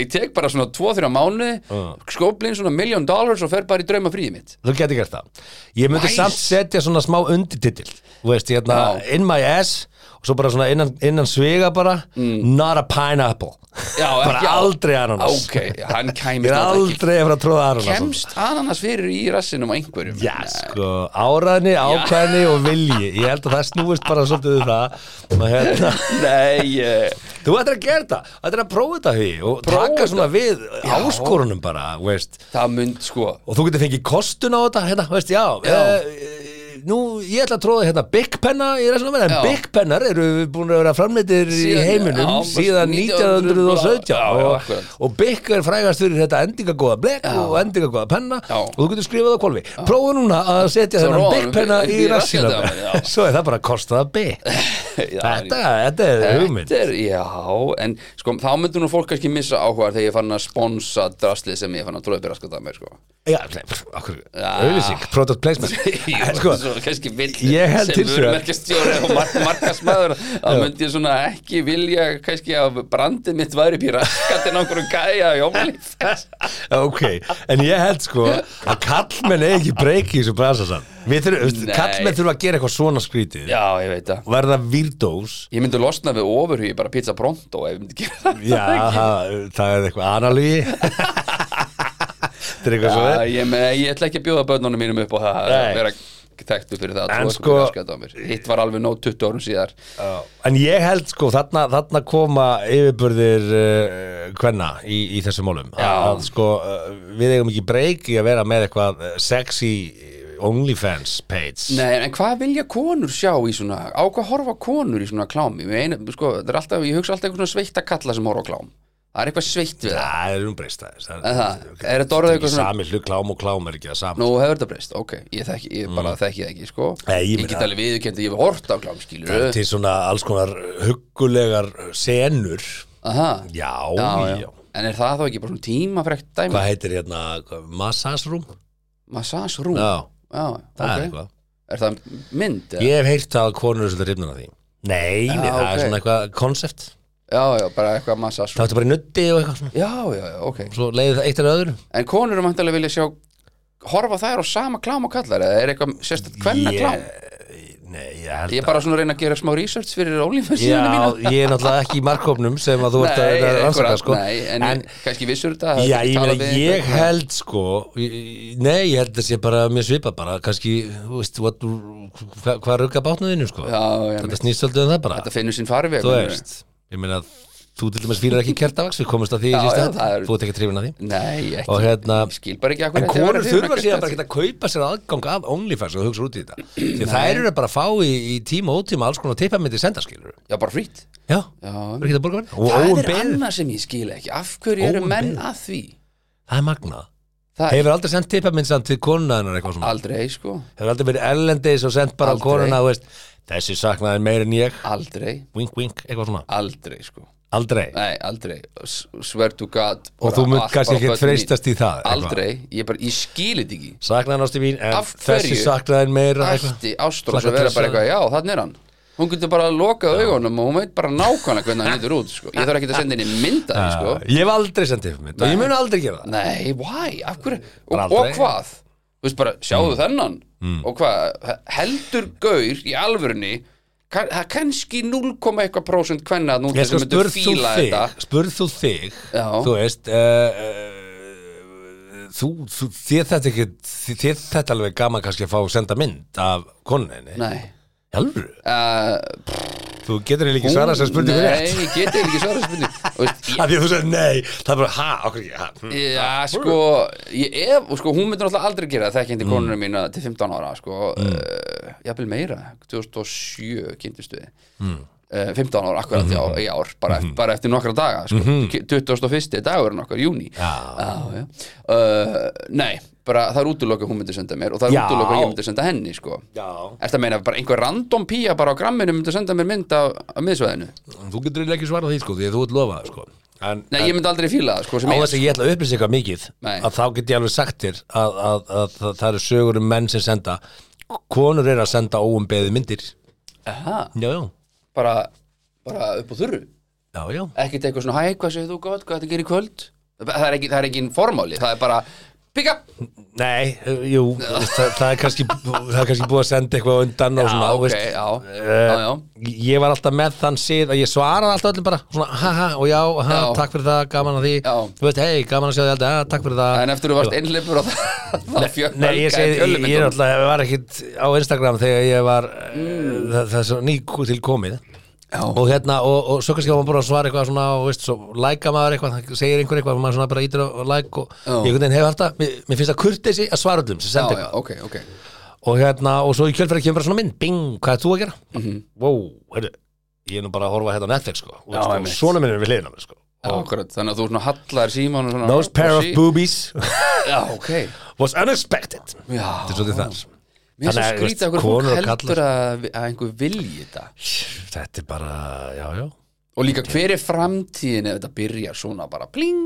S3: Ég tek bara svona 2-3 mánuði
S1: Mm.
S3: uh. skóplinn svona million dollars og fer bara í drauma fríði mitt
S1: þú geti gert það ég myndi
S3: Nice.
S1: samt setja svona smá undirtitil þú veist, hérna,
S3: Já.
S1: in my ass og svo bara svona innan, innan svega bara
S3: Mm.
S1: not a pineapple
S3: Já,
S1: bara
S3: ekki á-
S1: aldrei ananas
S3: Ok, hann
S1: ég
S3: kæmist
S1: er
S3: á þetta ekki
S1: aldrei að fara að tróða ananas
S3: Kemst ananas fyrir í rassinum á einhverjum
S1: Já, sko, áraðni, ákvæðni og vilji Ég held að það snúist bara svolítið um það og hérna
S3: Nei, eh,
S1: Þú ættir að gera það, ættir að prófa þetta því og
S3: Prófa
S1: taka svona
S3: þetta.
S1: við
S3: Já.
S1: áskorunum bara, þú veist
S3: það mynd sko
S1: og þú getur fengið kostun á þetta hérna, veist, já,
S3: Já.
S1: Eh, nú ég ætla að tróða hérna Big Penna í resnum, en
S3: Já.
S1: Big Pennar eru búin að vera framleittir í
S3: Síðan-
S1: heiminum
S3: já,
S1: síðan
S3: 1917
S1: 1917
S3: Já, já,
S1: og,
S3: akkurat.
S1: og Big er frægast fyrir þetta endingagóða blek og endingagóða penna
S3: Já.
S1: og þú getur skrifað á kvolfi prófa núna að setja
S3: Svo
S1: þennan
S3: róa
S1: Big
S3: honum
S1: Penna
S3: upp í
S1: í resnum
S3: rassinn á mér, já.
S1: svo er það bara að kosta það Big
S3: Já,
S1: þetta, þetta er hugmynd
S3: Þetta er, já, en sko, þá myndur nú fólk kannski missa áhuga þegar ég fann að sponsa draslið sem ég fann að tróða upp í raskatum mér, sko.
S1: já, nei, pff, okkur, auðlýsing, product placement en sko,
S3: svo, kannski vill
S1: ég held
S3: sem
S1: hins vegar-
S3: vörumerkjastjóri og mark, markasmaður, þá myndi ég svona ekki vilja kannski að brandið mitt væri upp í raskat þetta er nákvæmur gæja í ómælið
S1: ok, en ég held sko að kallmenn eigi ekki breyki í þessu bransasann
S3: Nei.
S1: kallmenn þurfa að gera eitthvað svona skrítið
S3: Já, ég veit það
S1: og verða výrdós
S3: Ég myndi losna við ofurhugi bara pizza pronto ef ég myndi gera það
S1: já, það, það er eitthvað analýi þetta er eitthvað svo
S3: Já, ég, með, ég ætla ekki að bjóða börnunum mínum upp á það að
S1: Nei.
S3: vera þekktu fyrir það að
S1: En
S3: trúa
S1: sko-
S3: einhverju raskæti á mér. Hitt var alveg nóg 20 árum síðar
S1: en ég held sko þarna, þarna koma yfirbörðir uh, hvenna í, í þessum málum
S3: Já.
S1: að sko uh, við eigum ekki breyki að vera með eitthvað eh, sexy eh, onlyfans page
S3: Nei, en hvað vilja konur sjá í svona á hvað horfa konur í svona klámi einu, sko, það er alltaf, ég hugsa alltaf eitthvað svona sveitt að kalla sem horfa á klám það er eitthvað sveitt við það
S1: það er um breyst aðeins það
S3: En það, er þetta orðið
S1: ekki
S3: eitthvað svona
S1: sami hlut klám og klám er ekki það sama
S3: Nú hefur þetta breyst, ok, ég, þekki, ég bara þekki það ekki sko.
S1: Nei, Mm. ég
S3: ég
S1: meina-
S3: get alveg viðurkennt að ég hef hort á klám skilur
S1: til svona alls konar huggulegar senur
S3: Aha,
S1: já,
S3: já,
S1: já,
S3: já. En er það þá ekki bara svona tímafrekt dæmi?
S1: hvað heitir hérna hvað- massage room
S3: Massage room?
S1: já,
S3: Já,
S1: það er
S3: ok.
S1: eitthvað
S3: Er það mynd? eða?
S1: ég hef heyrt að konur er svolítið hrifnar af því nei,
S3: Já,
S1: það
S3: ok.
S1: er svona eitthvað konsept
S3: Já, já, bara eitthvað massage
S1: það
S3: room
S1: ertu bara í nutti og eitthvað svona
S3: Já, já, já, ok
S1: svo leiði það eitt en öðru
S3: En konur eru mæntalega vilja sjá horfa þær á sama klám og kallar eða er eitthvað sérstætt hvenna klám
S1: Ég- nei, ég held
S3: Ég er bara svona að reyna að gera smá research fyrir OnlyFans
S1: Já,
S3: síðan mína
S1: ég er náttúrulega ekki í markkópnum sem að þú ert að
S3: Nei,
S1: reyna að rannsaka
S3: einhverja,
S1: sko.
S3: nei, en,
S1: en
S3: kannski vissur þetta hafði
S1: Já,
S3: ekki
S1: ég
S3: talað
S1: meina,
S3: við
S1: ég
S3: einhvern.
S1: held sko ég- Nei, ég held að sé bara mér svipa bara, kannski, þú veist what, hva, hvað rugga bátnaðinu sko
S3: Já, já,
S1: Þetta
S3: mér-
S1: snýst aldrei um það bara
S3: þetta finnur sín farveg
S1: Þú
S3: meinarðu?
S1: veist, ég meina þú til dæmis fyrir ekki kertavaks, við komumst að því
S3: Já,
S1: í
S3: já,
S1: sísta
S3: það er-
S1: Þú ert ekki trifin að því
S3: Nei, ekki,
S1: Og hérna-
S3: ég skil bara ekki akkur
S1: En konur þurfa síðan bara ekki að kaupa sér aðgang af OnlyFans og hugsa út í þetta Því að þær eru bara að fá í, í tíma og ótíma alls konar tippamindi sendaskilur
S3: Já, bara frýtt
S1: Já,
S3: Já,
S1: það er ekki að borga verið Og
S3: Það
S1: óum
S3: er
S1: beðið,
S3: annað sem ég skil ekki Af hverju eru
S1: Óumbeðið.
S3: menn að því?
S1: það er magnað
S3: Það
S1: Hefur aldrei sendt tippamind samt til konunaðinnar eitthvað svona
S3: aldrei, sko
S1: Hefur aldrei verið ellendis og sendt bara á
S3: Aldrei.
S1: konuna þú veist, Þessi saknaði meir en ég
S3: Aldrei,
S1: Wink, wink, eitthvað svona
S3: aldrei, sko
S1: Aldrei
S3: Nei, aldrei, S- swear to god
S1: Og
S3: bara
S1: þú munt
S3: allt
S1: kannski
S3: bara
S1: ekki
S3: börnin mín.
S1: freistast í það eitthvað.
S3: Aldrei, ég bara, ég skil þetta ekki
S1: Saknaði nátti mín en
S3: Af hverju?
S1: þessi saknaði meira eitthvað.
S3: Ætti Ástrós
S1: Flakka
S3: að vera
S1: tressa.
S3: bara eitthvað, já, þannig er hann Hún getur bara að loka augunum og hún veit bara nákvæmlega hvernig hann lítur út, sko Ég þarf ekki að senda henni mynd að því, sko
S1: Ég hef aldrei sendt tippamind og ég mun aldrei gera það
S3: Nei, why, af hverju,
S1: Bara
S3: og, og
S1: aldrei. Mm.
S3: hvað Þú veist bara, sjáðu þennan Og hvað, he- heldur gaur í alvörunni kann- það er kannski 0, eitthvað prósent hvenna nú
S1: Ég
S3: til
S1: sko
S3: sem myndu
S1: spurð þú
S3: fíla
S1: þig
S3: þetta
S1: Spurð þú þig
S3: Já.
S1: Þú veist uh, uh, Þú, þú þér þetta ekki Þér þetta alveg gaman kannski að fá senda mynd af konuninni
S3: Nei
S1: Jálfur,
S3: uh,
S1: þú getur eiginlega ekki svarað sem spurningu rétt
S3: Nei, ég geti ekki svarað spurningu Þú veist,
S1: Af því að þú segir nei, það er bara ha, okkur ekki ha hm.
S3: ég- Já, sko, ég ef, og sko, hún myndi náttúrulega aldrei gera það þekkjandi mm. konuna mína til 15 ára, sko, mm. uh, jafnvel meira, 2007 kynntist við, mm. 15 ára akkurat
S1: Mm-hmm.
S3: í, á, í ár, bara, eftir, bara eftir nokkra daga, sko, 21. dagurinn okkar, júni.
S1: Já.
S3: já. Uh, nei, bara það er útulokað hún myndi senda mér og það er
S1: Já.
S3: útulokað ég myndi senda henni, sko.
S1: Já,
S3: Ertu að meina bara einhver random pía bara á gramminu myndi senda mér mynd af, af miðsvæðinu?
S1: þú getur eiginlega ekki svarað því sko, því að þú ert lofað sko En,
S3: Nei, ég myndi aldrei fíla það, sko,
S1: en
S3: sem
S1: á
S3: ég
S1: þess að ég ætla að upplýsa eitthvað mikið
S3: Nei.
S1: að þá get ég alveg sagt þér að, að, að, það- það eru sögur um menn sem senda konur eru að senda óumbeðið myndir Já,
S3: Aha,
S1: já,
S3: bara, bara upp á þurru
S1: já, já
S3: ekkert eitthvað svona, hæ, hvað segir þú gott, hvað þetta gerir í kvöld það er ekki, það er ekki formáli, það er bara pick up,
S1: Nei, eh, jú, það, það, er kannski, það er kannski búið að senda eitthvað á undan og svona,
S3: já,
S1: þú
S3: ok,
S1: veist,
S3: já, já, já
S1: Eh, ég var alltaf með þann sið að ég svaraði alltaf öllum bara svona, ha ha og já, ha,
S3: Já.
S1: takk fyrir það, gaman að því
S3: Já.
S1: þú veist, hei, gaman að sjá því alltaf, ha, takk fyrir það
S3: en eftir þú varst einhleipur og það það fjö-
S1: Nei,
S3: fjölgaði
S1: ég segi, ég, ég er
S3: fjölmyndunum.
S1: alltaf, ég var ekkit á Instagram þegar ég var mm. það, það er svo ný til komið og hérna, og, og svo kannski var maður bara að svara eitthvað svona og veist, svo læka maður eitthvað það segir einhver eitthvað, maður svona bara ítir og læk og
S3: Já.
S1: ég einhvern veginn hef alltaf, mér, mér finnst það kurteisi að svara öllum sem
S3: já,
S1: sendi
S3: já,
S1: eitthvað
S3: ok, ok
S1: og hérna, og svo í kjölfæri kemur bara svona mynd bing, hvað er þú að gera? Mm
S3: Mhm.
S1: -hmm. heyrðu, ég er nú bara að horfa hérna á Netflix sko, og,
S3: Já,
S1: og
S3: einmitt.
S1: svona minn er við hliðin á mér sko
S3: Akkurat, þannig að þú svona hallar síman og svona
S1: Those pair of
S3: og sí-
S1: boobies
S3: Já, ok
S1: was unexpected
S3: Já.
S1: Þetta er svolítið
S3: Mér
S1: þar
S3: er svo
S1: Þannig að,
S3: skrítið
S1: veist,
S3: að hverju
S1: konur
S3: fólk
S1: og
S3: heldur
S1: kallar-
S3: að, að einhver vilji þetta
S1: Þetta er bara, já, já
S3: Og líka hver er framtíðin ef þetta byrjar svona bara pling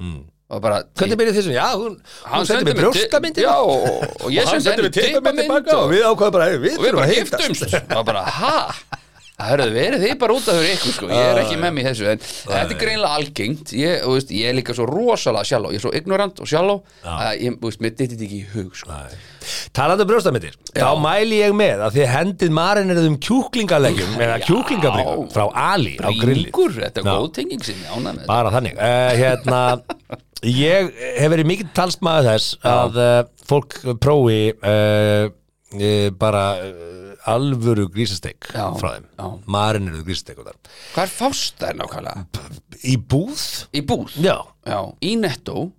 S1: Mm.
S3: Og bara
S1: Hvernig byrja þessum? Já, hún, hún sendi mér brjóstamyndi
S3: Já, og, og og ég
S1: hann
S3: sendi
S1: sendi
S3: henni
S1: mér tippamyndi
S3: tippamynd
S1: baka og við ákvaðum bara, hey, við
S3: og sko. við
S1: þurfum
S3: bara
S1: að
S3: giftumst
S1: hittast
S3: og bara, ha? Hörðu, verið þið bara út af fyrir ykkur sko, ég er ekki
S1: Ah.
S3: með mér í þessu en þetta er greinlega algengt, ég, og, veist, ég er líka svo rosalega sjálf, ég er svo ignorant og sjálf að ég, þú veist, mér dyttið ekki í hug sko.
S1: Talandi um brjóstamittir, þá mæli ég með að þið hendið marinirðum kjúklingaleggjum eða kjúklingabringum frá Ali á grillið.
S3: Ringur, þetta er
S1: Já.
S3: góð tenging sem ég ánað með þetta.
S1: Bara þannig. Uh, hérna, ég hef verið mikið talsmaður þess að uh, fólk prófi uh, uh, bara uh, alvöru grísasteik
S3: Já,
S1: frá þeim.
S3: já.
S1: Marinirðu grísasteik og þar.
S3: Hvað er fást þær nákvæmlega?
S1: Í búð?
S3: Í búð?
S1: Já.
S3: Já, í netto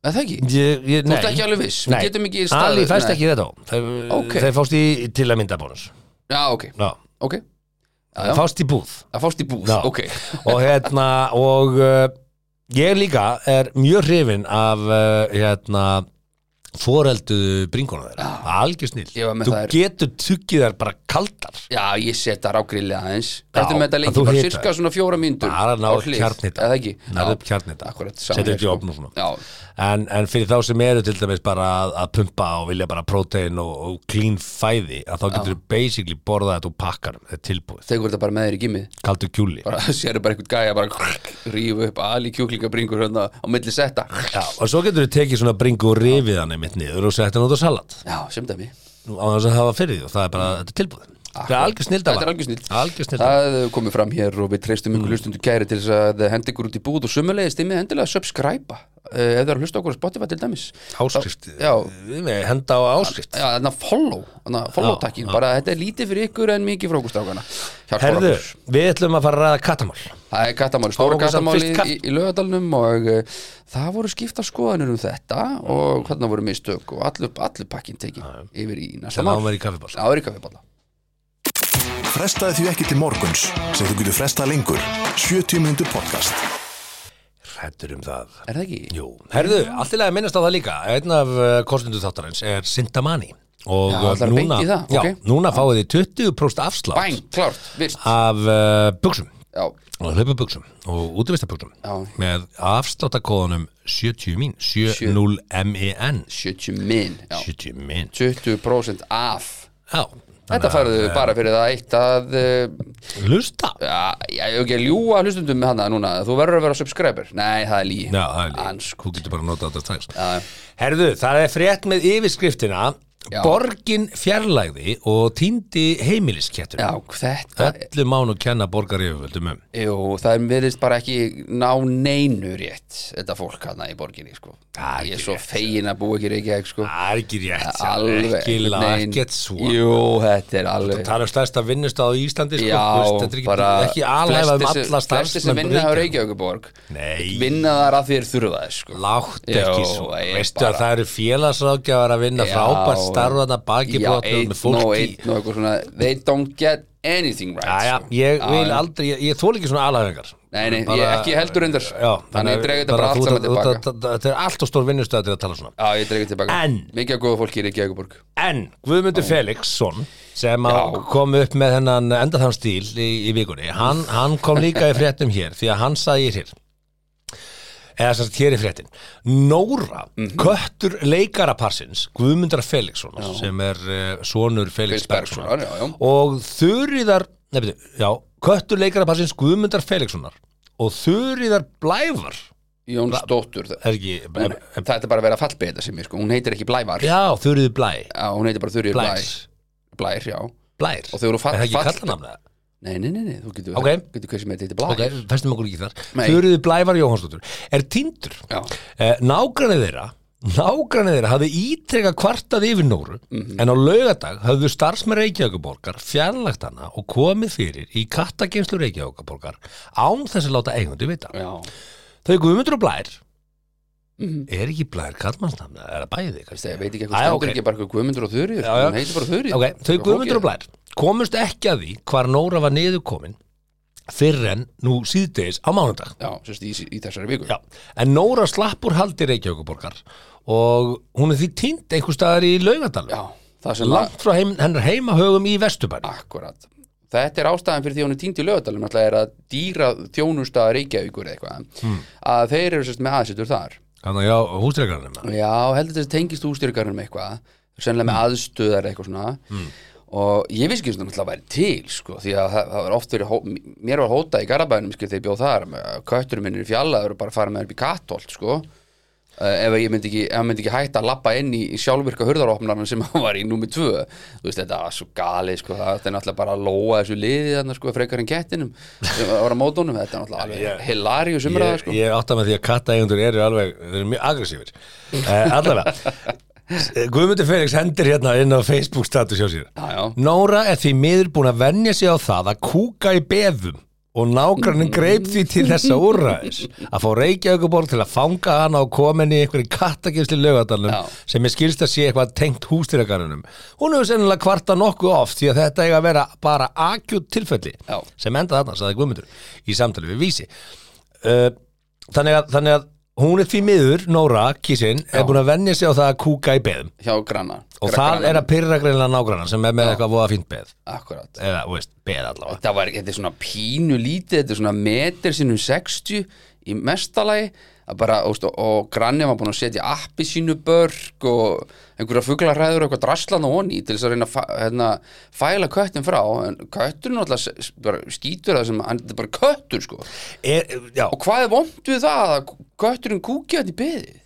S3: Er það ekki?
S1: Ég, ég,
S3: Þú
S1: nei.
S3: ert ekki alveg viss, við
S1: Nei,
S3: getum ekki
S1: Ali fæst
S3: nei.
S1: ekki í þetta á. Þeir,
S3: Ok.
S1: þeir fást í til að mynda bónus.
S3: Já, ok,
S1: Já.
S3: ok Já, já.
S1: Fást í búð.
S3: Að fást í búð,
S1: Já.
S3: ok
S1: og hérna og uh, ég líka er mjög hrifin af uh, hérna foreldu bringuna þeirra, algjör snill
S3: Ég var með
S1: þú
S3: þær.
S1: getur tuggið þær bara kaldar
S3: Já, ég set það rágrillið aðeins Þetta er
S1: Já,
S3: með þetta
S1: að
S3: lengi,
S1: þú
S3: bara
S1: hitar.
S3: sirka svona fjóra mínútur
S1: bara
S3: á
S1: náður
S3: hlið,
S1: kjarnita
S3: eða ekki?
S1: náður
S3: Já.
S1: upp kjarnita
S3: Akkurat, sama
S1: setur
S3: hér,
S1: ekki í
S3: sko.
S1: opnum svona
S3: Já,
S1: en, en fyrir þá sem eru til dæmis bara að, að pumpa og vilja bara prótein og, og clean fæði að þá getur þú basically borðað þetta úr pakkanum þetta er tilbúið,
S3: tekur þetta bara með þér í gimmið
S1: kaldur kjúli
S3: bara, sérðu bara einhvern gæja bara rífu upp ali kjúklingabringur hérna á milli setta
S1: Já, og svo getur þú tekið svona bringu og rifið hann einmitt niður og sett hann út á salat
S3: Já, sem dæmi
S1: Nú, á þess að hafa fyrir því og það er bara, þetta er tilbúðin þetta er algjör snilda
S3: Þetta er algjör snilld.
S1: algjör Mm. snilda
S3: Það komið fram hér og við treystum ykkur hlustundu kæri til þess að henda ykkur út í búð og sömulegist þið með endilega að subscriba eh, ef það er að hlusta okkur á Spotify til dæmis
S1: áskrift,
S3: Já.
S1: Við eh, henda á áskrift
S3: Já, þannig að follow, þannig að follow
S1: Já,
S3: takkin bara þetta er lítið fyrir ykkur en mikið fyrir okkur strákana Hjálpar
S1: herðu,
S3: okkur.
S1: við ætlum að fara að ræða kattamál
S3: Það er kattamáli, stóra
S1: Fáum okkur samt
S3: kattamáli
S1: fyrst katt.
S3: í, í lögadalnum og uh, það voru skipta skoðanir um þetta og hvernig voru mistök og allur, allur pakkin tekin yfir í næsta
S1: sem
S3: mál
S1: án verið í kaffibás
S3: Það er í kaffiballa
S2: Frestaði því ekki til morguns sem þú getur frestað lengur 70 mínútur podcast
S1: hrættur um það
S3: Er það ekki?
S1: Jú. herðu, allt í lagi að minnast á það líka einn af uh, kostundu þáttarins er Sintamani og
S3: Já,
S1: uh,
S3: ætlarðu
S1: núna,
S3: beint í það?
S1: já,
S3: Ok.
S1: núna fáið þið 20% afslátt
S3: Bæn, klárt, virt
S1: af uh, buksum
S3: Já,
S1: og hlaupabuksum og útivistabuksum
S3: Já.
S1: með afsláttakóðanum 70 min 70min
S3: 70 min já.
S1: 70 min
S3: 20% af
S1: Já,
S3: Þetta færðu bara fyrir það eitt að uh,
S1: Lusta
S3: Já, ég hef ekki að ljúga hlustundum með hana núna Þú verður að vera subscriber Nei, það er lí
S1: Já, það er líka,
S3: Ans-
S1: þú getur bara að nota þetta strax
S3: Já.
S1: Herðu, það er frétt með yfirskriftina
S3: Já.
S1: Borgin fjarlægði og týndi heimiliskettur
S3: Já, þetta
S1: Öllu mánu kenna borgar yfirvöldum um
S3: Jú, það er verðist bara ekki ná neinu rétt þetta fólk hana í borginni sko.
S1: Það er
S3: ég er
S1: ekki
S3: svo fegin að búa ekki reykja sko.
S1: Það er ekki rétt, sjá,
S3: alveg
S1: ekki
S3: einhvern veginn.
S1: laget svo
S3: Jú, þetta er alveg
S1: Það er stærsta vinnustáð í Íslandi sko,
S3: Já,
S1: þú veist, Þetta er ekki, ekki alhæfa um
S3: flestir sem-
S1: alla
S3: flestir sem vinna á
S1: starfsmenn
S3: Reykjavíkuborg
S1: Nei,
S3: vinna þar að því er þurfa þess sko.
S1: látt
S3: Jú,
S1: ekki svo
S3: ég
S1: Veistu
S3: bara-
S1: að það eru félagsrákjafar að vinna
S3: Já,
S1: frábært starfana baki
S3: Já,
S1: brotnum
S3: einn
S1: með
S3: og
S1: fólki
S3: einn og eitthvað svona they don't get anything right
S1: Jæja,
S3: sko.
S1: ég
S3: Já,
S1: vil
S3: já.
S1: aldrei, ég, ég þól ekki svona alhæfingar
S3: Nei, nei, ég ekki heldur undar
S1: Já,
S3: Þannig ég dreg þetta bara allt saman tilbaka
S1: Þetta er allt og stór vinnustöð til að tala svona
S3: Já, ég dreg þetta tilbaka
S1: En-
S3: Mikið að góða fólki í Reykjavíkuborg
S1: En Guðmundur Felixson sem að
S3: Já.
S1: kom upp með hennan enda þann stíl í, í vikunni hann, hann kom líka í fréttum hér því að hann sagði hér eða sem sagt hér í fréttin Nóra,
S3: Mhm.
S1: köttur leikaraparsins Guðmundar Felixson sem er uh, sonur Felix
S3: Felix Bergssonar,
S1: Bergssonar
S3: sko. já, já.
S1: og Þuríðar nefnir, já, köttur leikaraparsins Guðmundar Felixsonar og Þuríðar Blævar
S3: Jónsdóttur
S1: er ekki,
S3: Hún, það er bara að vera fallbeð þetta sem ég sko, hún heitir ekki Blævar Já,
S1: já, Þuríður Blæ
S3: hún heitir bara Þurrið Blær
S1: Blær,
S3: Blær, já Nei,
S1: Blær
S3: Og þau eru fall-
S1: Er það ekki
S3: fall-
S1: kallanamna?
S3: nei, nei, nei, þú getur
S1: Ok.
S3: getur hvað sem heitir Blær
S1: Ok, festum okkur ekki þar
S3: Nei.
S1: Þuríður Blævar Jóhansdóttur er tindur
S3: Já,
S1: Eh, Nágrannir þeirra Nágrannir þeirra hafði ítrekka kvartað yfir Nóru
S3: Mhm.
S1: en á laugardag hafðu starfsmenn Reykjavíkuborgar fjarlægt hana og komið fyrir í kattageimslu Reykjavíkuborgar án þess að láta eigundu vita.
S3: já,
S1: Þau guðmundur og blær
S3: Mhm.
S1: er ekki blær kallmannsnafna, er það bæði kannski?
S3: Þegar, veit ekki
S1: Æ,
S3: eitthvað stendur
S1: ok.
S3: ekki bara eitthvað Guðmundur og Þurrið
S1: Já, já.
S3: hún heitir bara Þurrið
S1: Ok, þau Guðmundur og Blær komust ekki að því hvar Nóra var niður komin fyrr en nú síðdegis á mánudag
S3: Já, sérst í, í þessari viku
S1: Já, en Nóra slapp úr haldi Reykjavíkuborgar og hún er því týnd einhver staðar í Laugadalum
S3: Já, það sem
S1: langt frá heim, hennar heimahögum í Vesturbæri
S3: Akkurat Þetta er ástæðan fyrir því að hún er týnd í lögadalum náttúrulega er að dýra þjónusta Reykjavíkur eða eitthvað að þeir eru sérst með aðsettur þar
S1: Þannig að já, hérna. húsreikarnir með Mm.
S3: Já, heldur þetta tengist ústyrkarnum eitthvað sennilega með aðstöðar eitthvað svona og ég vissi ekki svona að það væri til sko, því að það, það var oft verið hó- mér var hótað í Garabænum skil þegar ég bjóð þar með- kötturinn minn er í fjallaður og bara farið með hann upp í kattolt sko uh, ef ég myndi ekki, ef hann myndi ekki hætta að lappa inn í, í sjálfvirka hurðaropnarna sem hann var í númer 2 þú veist þetta var svo galið sko, það er náttúrulega bara að lóa þessu liði þarna sko, frekar en kettinum sem var á mótunum, þetta er náttúrulega alveg hilarjus umræða
S1: ég,
S3: sko
S1: ég átta með því að kattaeigundur eru alveg þeir eru mjög aggressífir uh, allavega Eh, Guðmundur Felix hendir hérna inn á Facebook status hjá sér
S3: Já, já.
S1: Nóra er því miður búin að venja sig á það að kúka í beðum og
S3: Mm.
S1: nágrannin greip því til þessa úrræðis að fá Reykjavíkuborg til að fanga hana og koma henni í einhverju kattageimsli lögadalum
S3: Já.
S1: sem er skilst að sé eitthvað tengt hústýragarunum hún hefur sennilega kvarta nokkuð oft því að þetta eiga að vera bara akjút tilfelli
S3: Já.
S1: sem enda þarna, sagði Guðmundur í samtali við Vísi uh, þannig, að, þannig að hún er því miður Nóra, kísinn, er búin að venja sig á það að kúka í beðum
S3: hjá granna
S1: og það er að pyrra greinlega nágranna sem er með eitthvað voða fínt beð
S3: Akkurat
S1: eða, þú veist, beð allavega
S3: þetta, var, þetta er svona pínu lítið þetta er svona meter sinnum 60 í mestalagi að bara, óst, og, og granni var búin að setja appi sínu börg og einhverja fuglarhæður og eitthvað draslan og honi til þess að reyna að fa- hérna, fæla köttin frá en kötturinn alltaf s- s- bara skýtur það sem, hann þetta er bara köttur sko og
S1: er, já,
S3: hvað er vond við það að kötturinn kúkja þetta í beðið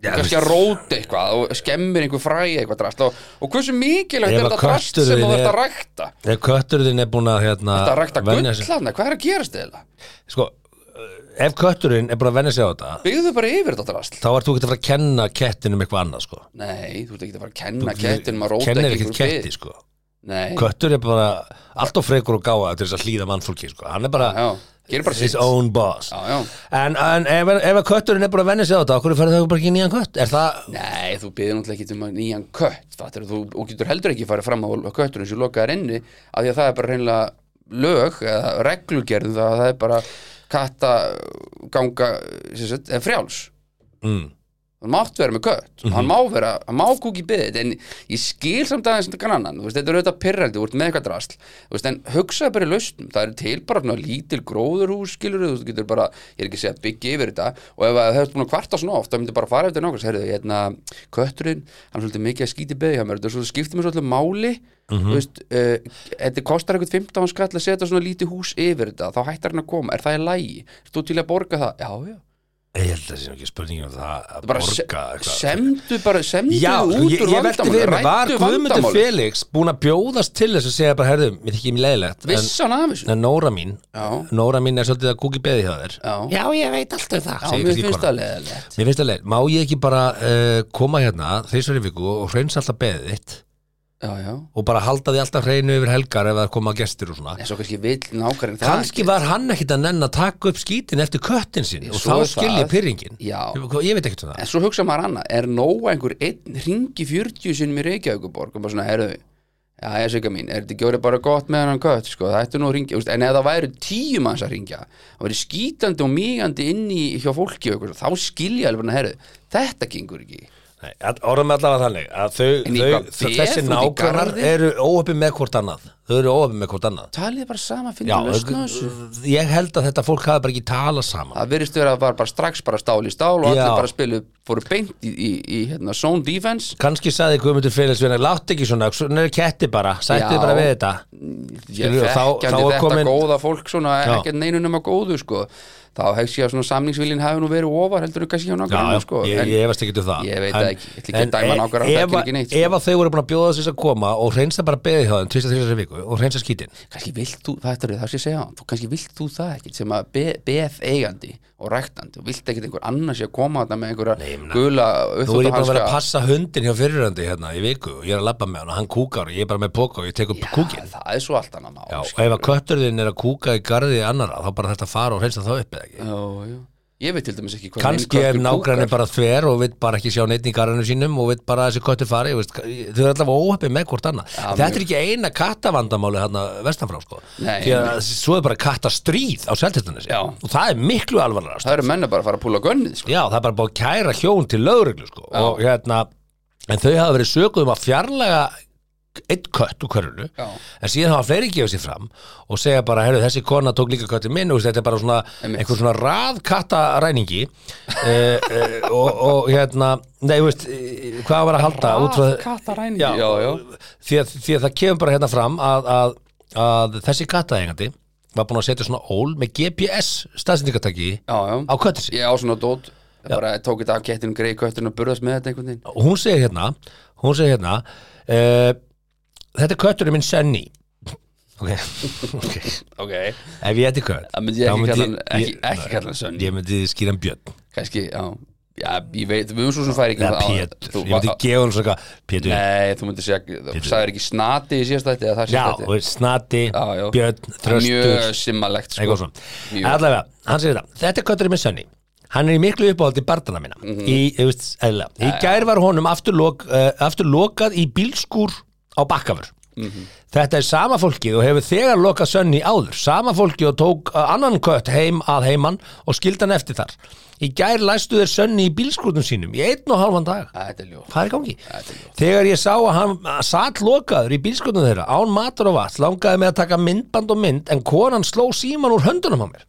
S1: Já,
S3: kannski
S1: þú
S3: að róta eitthvað og skemmir einhver fræði eitthvað drast og, og hversu mikilvægt
S1: Ef
S3: er
S1: að
S3: þetta drast sem
S1: kötturinn
S3: þú ert
S1: er-
S3: að rækta
S1: ef kötturinn er búin að hérna,
S3: þetta að rækta
S1: venja sig-
S3: gullana, hvað er að gerast eða?
S1: sko, uh, ef kötturinn er búin að venja sig á þetta
S3: byggðu bara yfir þetta drasl
S1: þá ert þú ekki að fara að kenna kettinum eitthvað annað sko.
S3: Nei, þú ert ekki að fara að kenna kettinum að róta
S1: kennir
S3: ekki
S1: ekkert ketti sko.
S3: Nei,
S1: köttur er bara alltaf frekur og gáða til þess að hlýða mannfólki sko. hann er bara
S3: já, gerir bara
S1: his
S3: sitt Já,
S1: own boss
S3: já
S1: en, en ef, ef að kötturinn er búin að venja sig á þetta okkur færðu þau bara ekki í nýjan kött er það,
S3: Nei, þú byggði náttúrulega ekki um að nýjan kött fattur, þú, og getur heldur ekki að fara fram á kötturinn sem lokaðar inni, af því að það er bara reynilega lög eða reglugerð um það, það er bara katta ganga sem sagt, er frjáls
S1: mm,
S3: hann mátt vera með kött, hann má vera hann má kúki byðið, en ég skil samt aðeins þetta grannan, þú veist, þetta er auðvitað pyrrældi þú ert með eitthvað drasl, þú veist, en hugsaðu bara í lausnum, það eru til bara svona lítil gróðurhús skilur, þú veist, þú getur bara, ég er ekki að segja byggja yfir þetta, og ef það hefur búin að kvarta svona oft, þá myndi bara fara eftir nákvæmst, herrðu, hérna kötturinn, hann er svolítið mikið að skýti byðið hjá mér, þetta er svolítið skiptir mér svolítið máli þú veist, uh, þetta kostar eitthvað 15 skall að setja svona lítið hús yfir þetta, þá hættar hann að koma, er það í lagi? Þú til að borga það? Já, já
S1: ég held að það sé nú ekki spurningum um það að
S3: bara se-
S1: borga eitthvað.
S3: semdu bara, semdu
S1: Já, sko,
S3: út
S1: ég,
S3: úr
S1: ég velti
S3: vandamálinu,
S1: fyrir mig, var
S3: ræddu
S1: Guðmundur
S3: vandamálið.
S1: Felix búin að bjóðast til þess að segja bara, herðu, mér þykir mér leiðilegt en,
S3: viss hann af þessu
S1: en Nóra mín,
S3: Já.
S1: Nóra mín er svolítið að kúki beði hjá þér
S3: Já.
S1: ég veit allt um það
S3: já,
S1: segir
S3: mér
S1: kannski
S3: finnst
S1: konan.
S3: það leðilegt
S1: Mér finnst það leið, má ég ekki bara uh, koma hérna þessari viku og hreins alltaf beðið þitt
S3: já, já,
S1: og bara halda því alltaf hreinu yfir helgar ef það koma gestir og svona
S3: en svo kannski vill nákvæmlega
S1: Kanski var hann ekkit að nenn að taka upp skítin eftir köttin sinn og
S3: Svo
S1: þá
S3: er
S1: skil ég
S3: það.
S1: pyrringin
S3: Já.
S1: Ég ég veit ekkert um það
S3: en svo hugsa maður annað, er nóg einhver einn ringi 40 sinnum í Reykjavíkuborg og bara svona, herðu já, ég sveika mín, er þetta gjóri bara gott með hann kött sko, það ættu nú að ringja, úst, en ef það væru tíu manns að ringja, það væri skítandi og mígandi inn í hjá fólki og eitthvað, þá skilja alveg, herðu, þetta gengur ekki
S1: Nei, að- orðum við allavega þannig að
S3: En í
S1: þau,
S3: hvað
S1: þau,
S3: bef
S1: þessi
S3: út í
S1: nágrannar
S3: garði?
S1: eru óöfum með hvort annað þau eru óöfum með hvort annað
S3: talið bara sama,
S1: Já,
S3: finnum lausna þessu
S1: þau- ég held að þetta fólk hafi bara ekki talað saman
S3: það verist verið að var bara strax bara stál í stál og
S1: Já.
S3: allir bara spilu, fóru beint í, í, í hérna, zone defense
S1: kannski saði Guðmundur Félix við látt ekki svona, svona er ketti bara sættu
S3: Já.
S1: bara við þetta
S3: ég
S1: Skilurðu, þá-
S3: þekkjandi
S1: þá er
S3: þetta
S1: komin-
S3: góða fólk svona
S1: Já.
S3: ekkert neinu nema góðu sko þá hegst ég að svona samningsviljin hafi nú verið ofar heldur þú kannski hjá
S1: Já,
S3: nákvæmlega
S1: já,
S3: sko
S1: ég, ég efast ekki til það
S3: ég veit
S1: En-
S3: það ekki, ég ætla ekki að
S1: en
S3: dæma
S1: e-
S3: nákvæmlega, það
S1: ef
S3: gerir
S1: að-
S3: ekki neitt, sko.
S1: Ef að þau voru búin að bjóða þess að koma og reynsa bara beðið hjá þeim, tvist að þessari viku og reynsa skítin
S3: kannski vilt þú, það er það sem ég segja á hann, þú kannski vilt þú það ekkert sem að BF eigandi og ræktandi og vilt ekkert einhver annars ég að koma þetta með einhverja gula
S1: Nú er ég bara að vera að
S3: uppþvottahanska.
S1: passa hundin hjá fyrirrandi hérna í viku og ég er að labba með hann og hann kúkar og ég er bara með póka og ég tek upp kúkin
S3: Já, það er svo allt annað mál sko.
S1: Já, og
S3: skilurðu.
S1: ef að kötturðin er að kúka í garði annara þá bara þetta fara og hreinsa þá upp eða ekki
S3: Já, já. Ég veit til dæmis ekki hvað
S1: Kanski er nágræni bara þver og vill bara ekki sjá neitt í garðinu sínum og vill bara að þessi köttur fari veist, þau eru allavega óhefni með hvort annað
S3: Já,
S1: Þetta er ekki eina kattavandamáli hérna vestanfrá sko
S3: Nei,
S1: því að svo er bara kattastríð á seltetunni
S3: Já.
S1: og það er miklu alvarlega
S3: Það eru menna bara að fara að púla gönnið sko.
S1: Já, það er bara búið að kæra hjón til lögreglu sko. og hérna, en þau hafa verið sökuð um að fjarlæga eitt kött úr körunu
S3: Já.
S1: en síðan hafa fleiri gefið sér fram og segja bara, herru, þessi kona tók líka köttin minn og þetta er bara svona,
S3: Einmitt.
S1: einhver svona raðkatta ræningi og, og hérna nei, þú veist, eh, hvað var að halda út frá
S4: kattaræningi
S1: Já.
S3: já, já,
S1: því að, því að það kemur bara hérna fram að, að, að þessi kattaengandi var búin að setja svona ól með GPS staðsendingartaki
S3: já, já.
S1: á köttin sín
S3: Ég á svona dót bara tók þetta af kettinum greið köttinu og burðast með þetta einhvern veginn
S1: og hún segir hérna hún segir hérna uh, þetta er kötturinn minn Senni ok, ok
S3: Ok,
S1: ef ég ætti kött
S3: það myndi ég
S1: þá
S3: ekki
S1: myndi
S3: kalla hann ekki,
S1: ég-
S3: ekki kalla hann sönn
S1: ég myndi skýra hann Björn
S3: Kannski, já, já, ég veit, við höfum svo sem færi ekki
S1: eða
S3: á-
S1: Pétur,
S3: þú-
S1: ég myndi
S3: á-
S1: gefa hann svona Pétur,
S3: Nei, þú myndir segja, þú sagðir ekki snati í síðast þetta eða það
S1: já,
S3: síðast
S1: og snati
S3: Já, já.
S1: Björn,
S3: þetta Mjög
S1: þröstur
S3: simmalegt sko
S1: eitthvað svona,
S3: Mjög.
S1: allavega, hann segir þetta þetta er kötturinn minn Senni Hann er í miklu uppáhaldi barnana minna
S3: Mhm.
S1: í, þú veist, eðlilega. í gær var honum aftur, lok, uh, aftur lokað í bílskúr á bakkafur
S3: Mhm.
S1: Þetta er sama fólkið og hefur þegar lokað sönni áður. Sama fólkið og tók uh, annan kött heim að heiman og skildan eftir þar. Í gær læstu þeir sönni í bílskrútum sínum í einn og halvan dag.
S3: Æ, Þetta er ljóð
S1: Hvað er í gangi? Þegar ég sá að hann satt lokaður í bílskotum þeirra án matur og vatn, langaði með að taka myndband og mynd en konan sló síman úr höndunum á mér.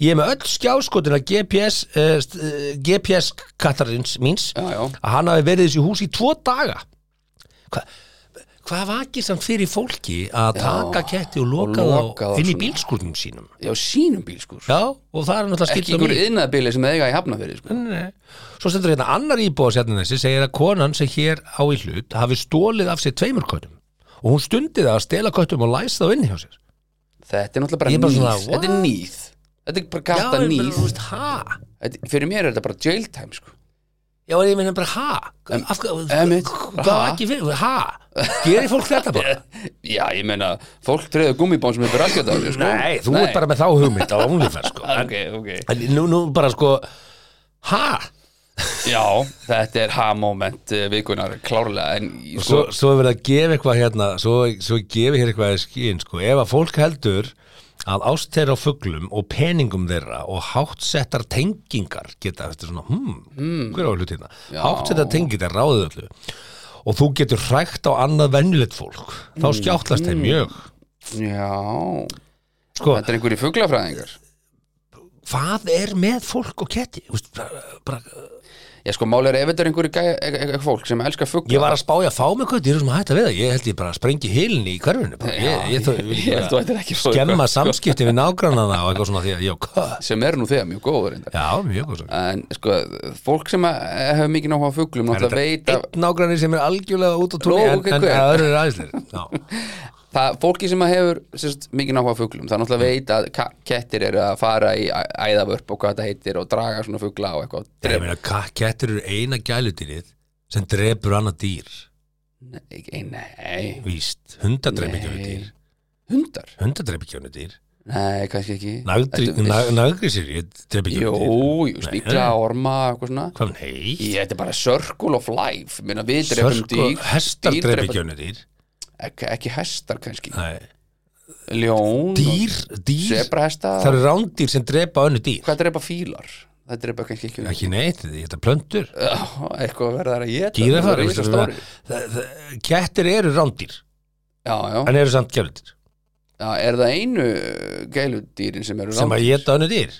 S1: Ég er með öll skjáskotina GPS, uh, GPS kattarins míns
S3: Já, já.
S1: að hann hafi verið í þessu hús í tvo daga. Hva, hvað vakið samt fyrir fólki að taka ketti og loka
S3: og loka
S1: þá
S3: þá
S1: inn í
S3: svona.
S1: bílskotum sínum?
S3: Já, sínum bíl sko
S1: Já, og það er náttúrulega
S3: Ekki
S1: skildum
S3: einhver yðnaðabili sem eiga í hafnafyrir sko
S1: Nei. Svo stendur hérna annar íbúa sérninesi segir að konan sem hér á í hlut hafi stólið af sér tveimur köttum og hún stundi það að stela köttum og læsa þá inni hjá sér
S3: Þetta er náttúrulega
S1: Ég er
S3: bara
S1: bara
S3: nýð
S1: svona,
S3: Þetta er
S1: what?
S3: nýð Þetta er bara katta
S1: ég meina,
S3: nýð
S1: þú veist, ha?
S3: Þetta- Fyrir mér er þetta bara jail time sko
S1: Já, ég meina bara, ha? Af,
S3: Einmitt.
S1: hvað
S3: Ha?
S1: ekki fyrir, ha? Gerir fólk þetta bara?
S3: Já, ég meina, fólk treður gummibón sem er bara algjörð á þessu sko
S1: Nei, þú ert bara með þá hugmynd á OnlyFans sko. en,
S3: Ok, ok
S1: en nú, nú bara sko, ha?
S3: Já, þetta er ha-moment eh, vikunar klárlega En í-
S1: Og
S3: sko
S1: svo, svo er verið að gefa eitthvað hérna svo, svo gefi hér eitthvað í skýn sko. ef að fólk heldur að ást þeirra á fuglum og peningum þeirra og háttsettar tengingar geta þetta er svona, hmm, hver á hlutina háttsettar tengingar ráðið öllu og þú getur hrækt á annað vennilegt fólk, þá
S3: Hmm.
S1: skjáttlast þeim mjög
S3: Já,
S1: sko,
S3: þetta er einhverju fuglafræðingar
S1: hvað er með fólk og ketti? Þú veist, bara, bara,
S3: Já, sko, máli er ef þetta er einhverju gæ- e- e- e- fólk sem elskar fugla
S1: ég var að spája að fá mig hvað, ég er svona hætt að veða, ég held ég bara að sprengi hilin í hverfinu bara, ég, ég, ég, ég,
S3: Ég held þú ættir ekki að fá
S1: skemma
S3: eitthvað, sko,
S1: samskipti við nágrannana og eitthvað svona því að, já, hvað?
S3: sem er nú þegar mjög góður reyndar.
S1: Já, mjög góð svo.
S3: en sko, fólk sem að- hefur mikið náhuga á fuglum
S1: Það
S3: náttúrulega veit að
S1: einn nágranni sem er algjörlega út á túnni
S3: Nú,
S1: en,
S3: ok,
S1: en
S3: hver?
S1: það eru aðeinslir. Já,
S3: það, fólki sem að hefur sérst, mikið náhuga á fuglum, það
S1: Mm.
S3: náttúrulega veit að ka- kettir eru að fara í æ- æðavörp og hvað þetta heitir og draga svona fugla og eitthvað
S1: Nei, ég meina, ka- kettir eru eina gæludýrið sem drepur annað dýr.
S3: Nei, ei, nei,
S1: Víst, hundar drep ekki önnur
S3: Nei.
S1: dýr.
S3: hundar
S1: Hundar drep ekki önnur dýr.
S3: Nei, kannski ekki Þetta-
S1: Nagrisir drep ekki
S3: Jú,
S1: önnur dýr.
S3: jú, sníkla, orma, eitthvað svona
S1: Hvað, nei?
S3: Ég, þetta er bara circle of life Minna, við drefum
S1: Sörku,
S3: dýr
S1: hestar
S3: dýr
S1: drep
S3: drepa-
S1: ekki önnur dýr.
S3: ekki, ekki hestar kannski
S1: Nei.
S3: ljón,
S1: Dýr, dýr,
S3: sebrahesta
S1: það eru rándýr sem drepa önnur dýr.
S3: hvað drepa fílar? það drepa kannski ekki
S1: Ekki neitt, þetta er plöntur.
S3: Já, eitthvað verðar að geta
S1: Gírafar,
S3: það er stóri
S1: kettir eru rándýr
S3: já, já.
S1: en eru samt gæludýr
S3: já, er það einu uh, gæludýrin sem eru
S1: sem að
S3: rándýr?
S1: geta önnu dýr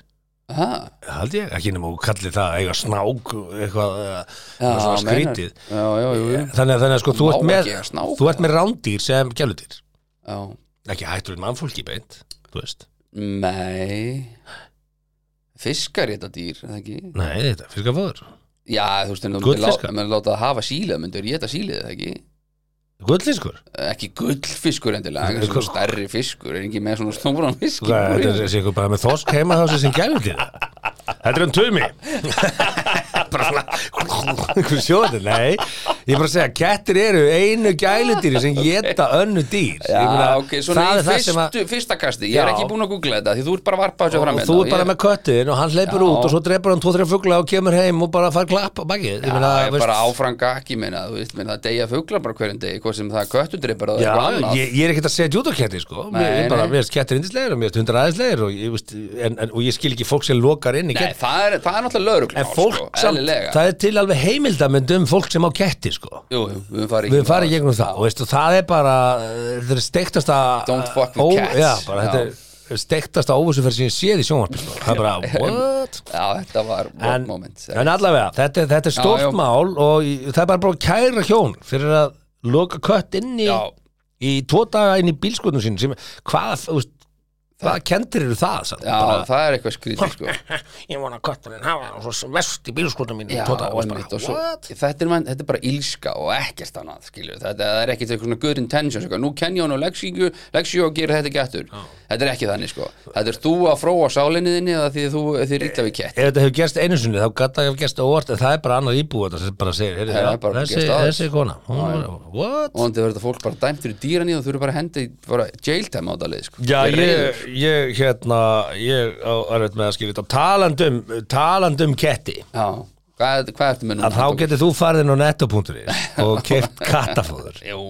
S3: Ha,
S1: hald ég, ekki nema og kalli það eiga snák eitthvað eh,
S3: já,
S1: svona
S3: meinar.
S1: skrítið
S3: já, já, jú, jú.
S1: þannig að, þannig að sko, þú,
S3: Má
S1: ert
S3: ekki
S1: með,
S3: eiga snák,
S1: þú ert með rándýr sem gæludýr
S3: já
S1: ekki hættur við mannfólki beint þú veist,
S3: nei fiskar geta dýr, er það ekki
S1: nei þetta er fiskafóður
S3: já, þú veist, en þú myndir
S1: Gullfiskar?
S3: lá- myndir láta það hafa sílið myndir geta sílið, er það ekki
S1: gullfiskur,
S3: ekki gullfiskur endilega, en svona stærri fiskur er ekki með svona stóran fisk í
S1: Hvað, þetta er
S3: búri.
S1: þessi eitthvað bara með þosk heima þá sem gæludýr þetta er um tumi bara svona einhver sjóði, nei ég er bara að segja, kettir eru einu gæludýri sem geta önnu dýr Ég
S3: Já,
S1: meina,
S3: ok, svona í
S1: það er það
S3: fyrstu,
S1: sem að
S3: fyrsta kasti Ég er
S1: Já.
S3: ekki búin að googla þetta, því þú ert bara að varpa þessu fram hérna.
S1: og þú er bara með köttin og hann hleypur
S3: Já.
S1: út og svo drepur hann 2-3 fugla og kemur heim og bara fær klapp á bakið
S3: Já, ég er bara áfranga ekki, meina, þú veist, meina, það deyja fugla bara hverjum degi, hvort sem það er köttundreipar eða
S1: Já,
S3: eitthvað annað
S1: ég, ég er ekkert að segja djúta ketti sko.
S3: Nei,
S1: mér, ég bara,
S3: nei.
S1: mér er kettir indislegir og mér er hundar aðislegir og ég, veist, en, en, og ég skil ekki fólk sem lokar inn í
S3: Nei,
S1: get-
S3: það er, það er náttúrulega lögreglum
S1: en fólk
S3: sko,
S1: samt,
S3: eðlilega.
S1: það er til alveg heimildamönd um fólk sem á ketti sko
S3: Jú, jú, við höfum farið
S1: við farið í gegnum það og veistu, það er bara þetta er steiktasta
S3: Don't fuck with
S1: ó-
S3: cats.
S1: já,
S3: Já.
S1: bara, þetta er steiktasta óvissuferð sem ég séð í sjónvarpi sko. það er bara what
S3: sko. Já, þetta var en,
S1: en,
S3: moment
S1: en allavega, þetta, er- þetta er
S3: Já, já.
S1: stórt mál og í- það er bara bara að kæra hjón fyrir að loka kött inn í
S3: Já,
S1: í tvo daga inn í bílskotnum sín sem, hvað, þú veist, hvaða kendir eru það samt?
S3: já
S1: bara,
S3: það er eitthvað skrítið sko
S1: ég vona að kötturinn hafa hann svo vest í bílskotnum mín
S3: Já,
S1: í tvo daga og
S3: einmitt,
S1: bara,
S3: og svo,
S1: what?
S3: þetta, er, mann- þetta er bara ílska og ekkert annað skilur, þetta það er ekkert eitthvað svona good intentions eitthvað. nú kenni hún og leksíu, leksíu og gera þetta getur þetta er ekki þannig sko þetta er þú að fróa sálinni þinni eða því þú þið rýta við kett
S1: ef þetta hefur gerst einu sinni þá gata hefur gerst óvart en það er bara annar íbúi þetta sem bara segir heyrðu,
S3: Það er
S1: já,
S3: bara
S1: þessi,
S3: gerst aðeins.
S1: þessi kona hún, what?
S3: og þetta verður þetta fólk bara dæmt fyrir dýran í og þú eru bara hendi bara jail time á þetta leið sko.
S1: Já,
S3: Ég er
S1: ég,
S3: reiður.
S1: ég hérna ég á erfitt með að skilja þetta talandum, talandum um ketti
S3: já, hvað, hvað ertu með núna?
S1: að þá getur þú farið inn á netto.is og keft kattafóður
S3: jú,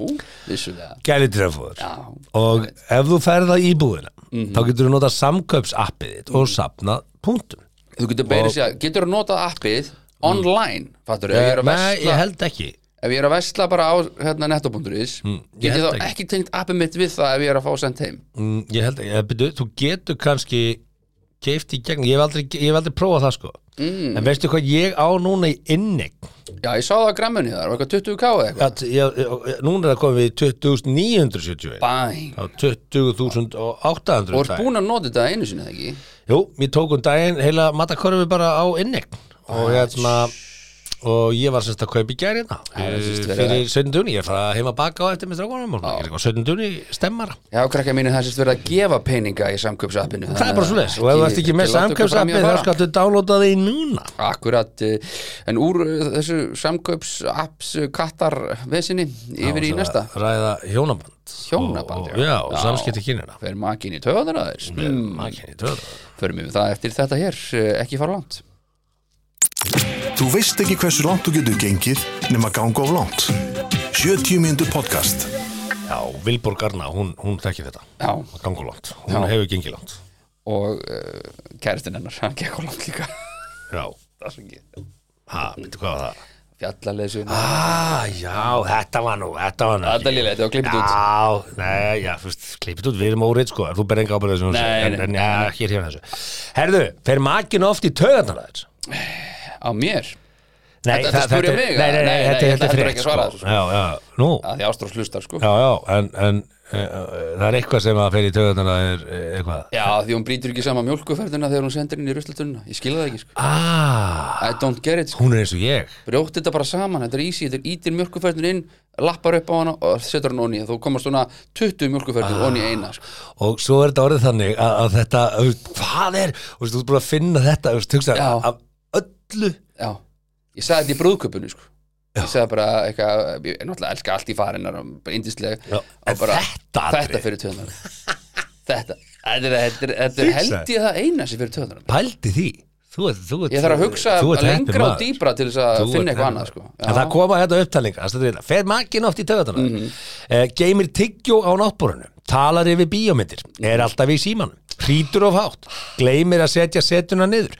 S3: vissulega
S1: gælitrafóður
S3: já, Mhm.
S1: og ef þú ferð að íbúðina þá getur þú notað samkaupsappið þitt og sapnað punktum
S3: þú getur beirið sér getur þú notað appið online fattur, ef ég er að
S1: Mm. Nei,
S3: versla
S1: ég held ekki
S3: ef ég er að vesla bara á hérna, netto.is get ég
S1: Mm, held
S3: þá
S1: ekki.
S3: ekki tengt appið mitt við það ef ég er að fá sendt heim
S1: Mm, ég held ekki, eða byrju, þú getur kannski keift í gegn, ég hef aldrei, ég hef aldrei prófað það sko mm. en veistu hvað ég á núna í innig
S3: já, ég sá það á grammunni þar, var eitthvað 20k eða eitthvað
S1: að ég, ég- núna er það komið í 2971
S3: bæn,
S1: á 20.800
S3: og er
S1: dag.
S3: búin að nota þetta einu sinni eða ekki
S1: Jú, ég tók um daginn heila matakörfi bara á innig og hérna og ég var semst að kaupa í gærina
S3: það er semst verið
S1: fyrir 17. júní, ég er að fara heima að baka á eftir með strákunum og ég er eitthvað 17. júní stemmara
S3: já, krakka mínu það sést verið að gefa peninga í samköpsappinu
S1: það er bara svo leis og ef þú ert ekki með samkjömsappið þá skaltu downloada því núna
S3: Akkurat, eh, en úr eh, þessu samköpsapps kattar vesinni yfir í
S1: Svo
S3: næsta
S1: að ræða hjónaband
S3: Hjónaband,
S1: og, og, já, og samskipti kynina
S3: Fer makin í töðan aðeins mm. Förum við það eftir þetta hér, eh, ekki fara langt
S2: Þú veist ekki hversu langt þú getur gengið nema ganga of langt. 70 mínútur podcast.
S1: já, Vilborg Arna, hún, hún tekki þetta
S3: Já,
S1: að ganga langt, hún hefur gengið langt
S3: og uh, kæristin hennar, hann gekk á langt líka
S1: já,
S3: það sem ekki
S1: ha, veitu hvað var það
S3: fjallaleysun
S1: ah, já, þetta var nú þetta var nú
S3: Þetta er lélega, þetta var klippið út
S1: Já, nei, já, fyrst, klippið út, við erum órið sko, þú ber enga ábyrða þessu
S3: Nei,
S1: en,
S3: nei.
S1: en já, hér hefur þessu Herðu, fer makin oft í taugarnar aðeins?
S3: á mér,
S1: Nei,
S3: Þetta- þetta
S1: það-
S3: spurja
S1: er-
S3: mig,
S1: Nei, nei,
S3: eða?
S1: nei,
S3: Nei,
S1: þetta
S3: nei,
S1: þetta
S3: ég
S1: er
S3: ætla
S1: frétt
S3: ekki að
S1: sko
S3: svara þessu, sko.
S1: Já, já, nú,
S3: að því Ástrós hlustar sko já,
S1: já, já, en, en e, e, það er eitthvað sem að fer í taugarnar að er e, eitthvað
S3: því hún brýtur ekki saman mjólkuferðina þegar hún sendir inn í ruslatunna, ég skilja það ekki sko
S1: Ah,
S3: I don't get it, sko.
S1: hún er eins og ég
S3: brjótt þetta bara saman, þetta er easy, þetta er ítir mjólkuferðin inn lappar upp á hana og setur hann onni þú komast svona 20 mjólkuferðin onni í eina sko.
S1: og svo er þetta orðið þannig að, að þetta, þú veist, hvað er þú veist, þú ert búin að finna þetta, þú veist, hugsaðu,
S3: Já.
S1: af öllu
S3: já, ég sagði þetta í brúðköpunni sko Ég sagði bara eitthvað, ég náttúrulega elska allt í farinar og bara indisleg
S1: Já, en þetta atriði.
S3: Þetta fyrir töðunar Þetta, þetta, er- þetta, er- þetta er
S1: Hugsaðu.
S3: held ég það eina sem fyrir töðunar
S1: pældi því Þú ert, þú ert,
S3: Ég þarf að hugsa
S1: þú ert heppinn
S3: lengra og
S1: maður.
S3: dýpra til þess að
S1: Þú
S3: finna eitthvað
S1: ert heppinn
S3: annað
S1: maður.
S3: sko
S1: En það koma hérna upptalninga, það stendur hérna, fer makin oft í töðatana, mm
S3: Mhm.
S1: geymir tyggjó á náttborunum, talar yfir bíómyndir, er
S3: Mhm.
S1: alltaf í símanum, hrítur of hátt, gleymir að setja setuna niður.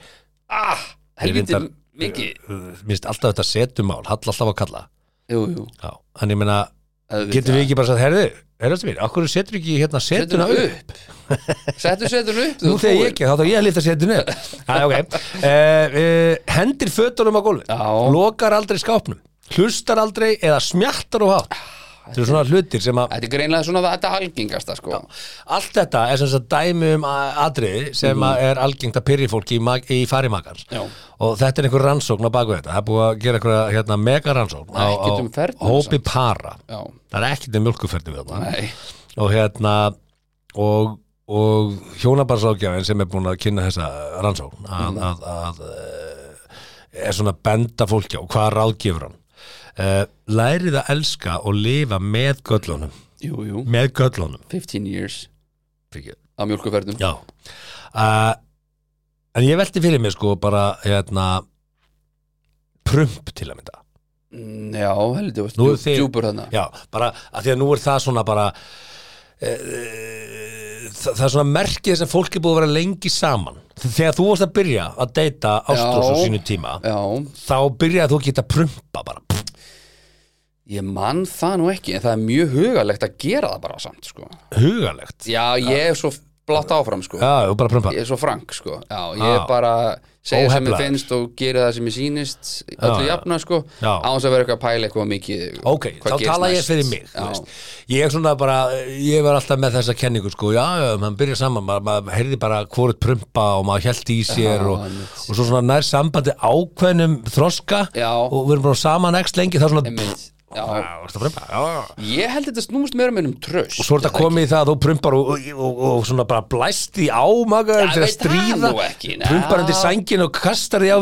S3: ah, Helviti
S1: reyndar-
S3: mikið
S1: Uh, Minnst alltaf þetta setumál, hall alltaf að kalla.
S3: Jú, jú
S1: Já, en ég meina,
S3: auðvitað.
S1: getum við ekki bara sagt, herðu, herðast mér, okkur setur ekki hérna setuna,
S3: Setuna
S1: upp?
S3: upp Settu setuna upp
S1: Nú þegar ég ekki, þá þá ég að lifta setinu upp. Æ, ok. Uh, uh, hendir fötunum á gólfið.
S3: Já.
S1: Lokar aldrei skápnum. Hlustar aldrei eða smjattar og hátt. Þetta eru svona hlutir sem að
S3: Þetta er greinlega svona það- þetta algengasta sko
S1: allt þetta er sem sagt dæmi um a- atriði sem mm er algengt að pyrri fólki í, mag- í farimakar.
S3: Já.
S1: Og þetta er einhver rannsókn á baku þetta. Það er búið að gera einhver hérna, mega rannsókn á, á
S3: Ekkert um ferðina,
S1: hópi para.
S3: Já,
S1: Það er ekkert um mjölkuferði við þetta.
S3: nei
S1: og hérna og, og hjónabarsákjafin sem er búin að kynna þessa rannsókn að, að, að eh, er svona að benda fólki á hvað ráðgefur hann uh, lærið að elska og lifa með göllunum
S3: Jú, jú
S1: með göllunum
S3: 15 years
S1: Fyrir-
S3: á mjólkuferðum
S1: já uh, en ég velti fyrir mig sko bara hérna prump til að mynda
S3: Mm, Já, heldur,
S1: Nú
S3: þú
S1: er
S3: varst
S1: þið-
S3: djúpur þarna
S1: Já, bara að því að nú er það svona bara e, það, það er svona merkið sem fólk er búið að vera lengi saman þegar þú varst að byrja að deyta Ástrós á
S3: Já.
S1: sínu tíma
S3: Já,
S1: þá byrjaði þú að geta prumpa bara
S3: ég mann það nú ekki en það er mjög hugalegt að gera það bara samt sko.
S1: hugalegt já,
S3: Já, ég er svo blátt áfram sko.
S1: þú bara prumpa
S3: Ég er svo frank sko. Já, ég
S1: Já.
S3: er bara segja sem
S1: Óheflaður.
S3: ég finnst og gera það sem ég sýnist öllu
S1: já.
S3: jafna sko
S1: Já.
S3: án þess að vera eitthvað að pæla eitthvað mikið
S1: ok,
S3: hvað
S1: þá
S3: gerist
S1: tala ég
S3: næst.
S1: fyrir mig þú
S3: Já.
S1: veist. ég er svona bara, ég var alltaf með þessa kenningu sko, já, já, maður byrja saman maður, maður heyrði bara hvort prumpa og maður held í sér og,
S3: einmitt.
S1: og svo svona nær sambandi ákveðnum þroska
S3: Já.
S1: og við erum bara saman ekst lengi þá svona,
S3: Einmitt. Já.
S1: já, varstu að prumpa já, já
S3: Ég held þetta snúmust meira meira um tröst
S1: og svo er þetta komið í það að þú prumpar og, og, og, og svona bara blæst því á
S3: Já,
S1: magaður
S3: ég veit
S1: fyrir að
S3: það
S1: stríða
S3: nú ekki, ná.
S1: prumpar undir sængin og kastar því á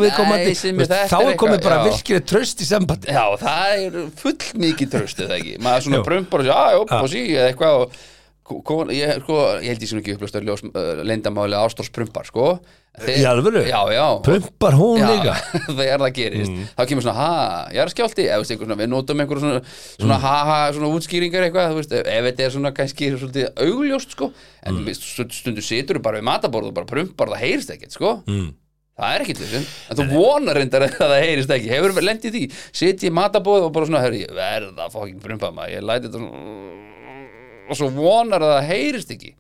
S3: Nei,
S1: viðkomandi
S3: Simmi,
S1: Veist,
S3: þetta
S1: þá
S3: er
S1: er komið
S3: eitthvað,
S1: bara
S3: já.
S1: virkir tröst í sambandi
S3: Já, það er full mikið tröst eða ekki, maður svona
S1: Jú.
S3: brumpar og sér, að, upp og sí, eða eitthvað og ko- kon- ég, sko, ég held ég sem ekki upplöst að ljós uh, leyndamáli ástórs prumpar, sko Þeir,
S1: Í alvöru?
S3: Já, já
S1: prumpar hún
S3: Já,
S1: líka
S3: þegar það gerist þá kemur svona, ha, ég er skjálti eða, veist, einhver svona, við notum einhver svona, svona ha, ha, svona útskýringar eitthvað þú veist, ef, ef þetta er svona kannski svolítið augljóst sko, en mm. stundu situr bara við mataborð og bara prumpar það heyrist ekkert sko. mm. það er ekkert hlutin en þú vonar reyndar að það heyrist ekki hefur verið lent í því, sitji í mataborð og bara svona, herri, ég verða að fokkin prumpa maður ég læti þetta svona og svo vonar að það heyrist ekki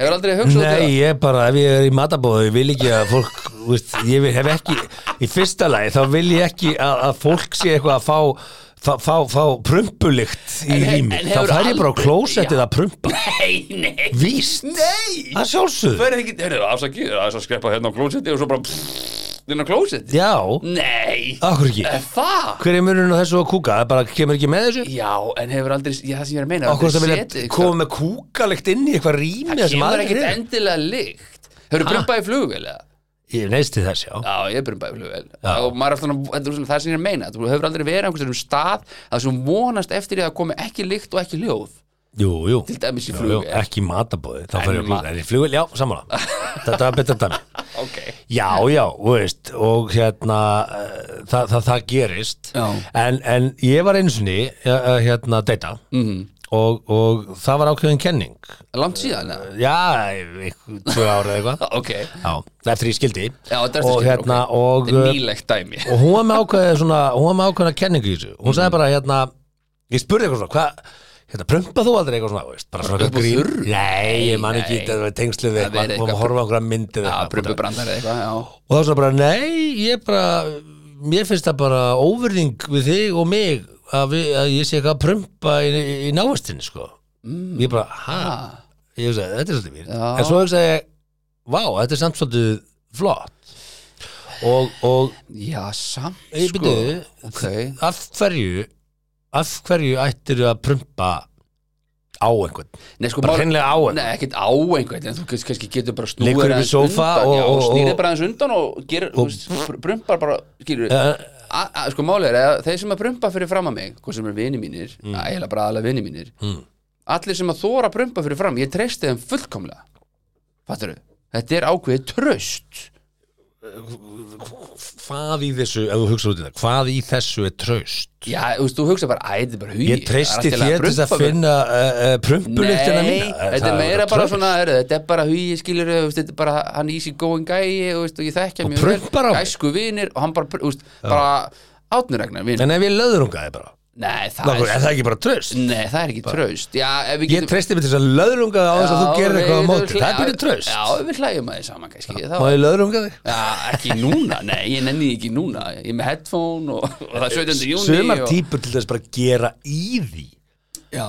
S3: hefur aldrei hugsað út í
S1: Nei, ég bara, ef ég er í matabóðu, ég vil ekki að fólk, þú veist, ég vil, hef ekki, í fyrsta lagi, þá vil ég ekki að, að fólk sé eitthvað að fá, fá, fá, fá prumpulikt í
S3: En he-
S1: rými.
S3: en
S1: Þá
S3: hefur
S1: fær ég bara á
S3: aldrei-
S1: klósettið
S3: Já.
S1: að prumpa.
S3: það? nei, nei
S1: Víst.
S3: Nei!
S1: Að sjálfsögðu.
S3: Það er ekki, heyrðu, afsaki, það er svo að skreppa hérna á klósetti og svo bara pfft, inn á klósetti.
S1: Já,
S3: Nei!
S1: akkur ekki.
S3: Er það?
S1: Hver er munurinn á þessu og kúka? Það bara kemur ekki með þessu?
S3: Já, en hefur aldrei, já, það sem ég er að meina,
S1: Akkur það
S3: setið
S1: vilja
S3: eitthvað-
S1: koma með kúkalegt inn í eitthvað rými
S3: það
S1: sem
S3: kemur
S1: aðrir
S3: ekkert
S1: er?
S3: endilega lykt. Hefur brumpaði flugvél eða?
S1: Ég neist til þess, já.
S3: Já, ég er brumpaði flugvél. Og maður er alltaf, svona- þetta er svona það sem ég er að meina, þú hefur aldrei verið á einhversum stað að sem vonast eftir því að það komi ekki lykt og ekki ljóð.
S1: Jú, jú.
S3: Til dæmis í
S1: Jú, jú,
S3: flugvél.
S1: Ekki matabóði, þá fær ég að
S3: ma-
S1: klúka. En í flugvél, já, samanlega. Þetta var betra dæmi.
S3: Ok.
S1: Já, já, þú veist og hérna, uh, það, það, það gerist
S3: Já.
S1: en, en ég var einu sinni uh, uh, hérna, deyta
S3: Mm.
S1: -hmm. og, og það var ákveðin kenning
S3: Mhm. Langt síðan, eða?
S1: já, einhver- tvö ára eða eitthvað
S3: Ok.
S1: já, eftir ég skildi
S3: Já, þetta er eftir
S1: og
S3: skildi,
S1: hérna,
S3: ok.
S1: og
S3: Þetta er
S1: uh,
S3: nýlegt dæmi.
S1: og hún var með ákveðið svona, hún var með ákveðina kenningu í þessu hún sagði bara hérna, ég spurði eitthvað svona hvað, hérna, prumpa þú aldrei eitthvað svona þú veist, bara svona
S3: Upp úr þurru?
S1: nei, ég man ekki,
S3: Nei.
S1: þetta var tengslið við
S3: Það verið
S1: eitthvað, hún var að
S3: eitthvað-
S1: horfa á einhverja myndir
S3: Já, prumpubrandar eða eitthvað, já.
S1: og það var svona bara, nei, ég bara mér finnst það bara óverðing við þig og mig að, við, að ég sé eitthvað að prumpa í, í návastinni sko. mm. ég bara, ha
S3: Ah.
S1: ég hugsaði, þetta er svolítið mér
S3: Já.
S1: en svo hugsaði ég, vá, þetta er samt svolítið flott og, og
S3: Já, samt
S1: Ég
S3: sko
S1: byrju.
S3: Ok
S1: af hverju af hverju ættir að prumpa á einhvern
S3: Nei, sko,
S1: bara hreinlega á einhvern
S3: Nei, ekkert á einhvern En þú kannski- kannski getur bara snúið
S1: Liggur upp í
S3: aðeins
S1: sófa
S3: undan,
S1: og-
S3: já,
S1: og- og-
S3: Snýrið bara aðeins undan og gerir þú veist, pr- Prumpar bara, skilur
S1: Eh,
S3: A- a- Sko, málið er að þeir sem að prumpa fyrir fram að mig Hvað sem er vini mínir
S1: Mm.
S3: Ægilega bara aðalega vini mínir Allir sem að þóra að prumpa fyrir fram Ég treysti þeim fullkomlega Fattur Þetta er ákveðið tröst
S1: hvað í þessu, ef þú hugsa út í það hvað í þessu er traust
S3: Já, þú veist, þú hugsa bara Æ, þetta er bara hugi
S1: Ég treysti þér til þess að finna uh, uh, prumpuliktina
S3: Nei,
S1: mína.
S3: þetta er
S1: Það
S3: meira bara
S1: traust.
S3: svona heru, þetta er bara hugi skilur þetta er bara hann easy going guy og, veist, og ég þekkja
S1: Og
S3: mjög
S1: prumpar á mig.
S3: gæsku vinir og hann bara, pr- veist, bara átnuregnar vinir
S1: En ef ég löðrungaði bara,
S3: Nei, það
S1: Lakur, er
S3: er,
S1: það ekki bara traust?
S3: nei, það er ekki tröst Já, ef við
S1: Ég
S3: getum
S1: treysti mig til þess að löðrunga þig á þess að þú gerir eitthvað á móti. Það er byrju traust.
S3: Já, við hlægjum að þið saman kannski þá,
S1: Má ég löðrunga þig?
S3: Já, ekki núna, nei, ég nenni því ekki núna Ég er með headphone og, og það er 17. júni
S1: Sumar
S3: og-
S1: típur til þess bara að gera í því.
S3: Já,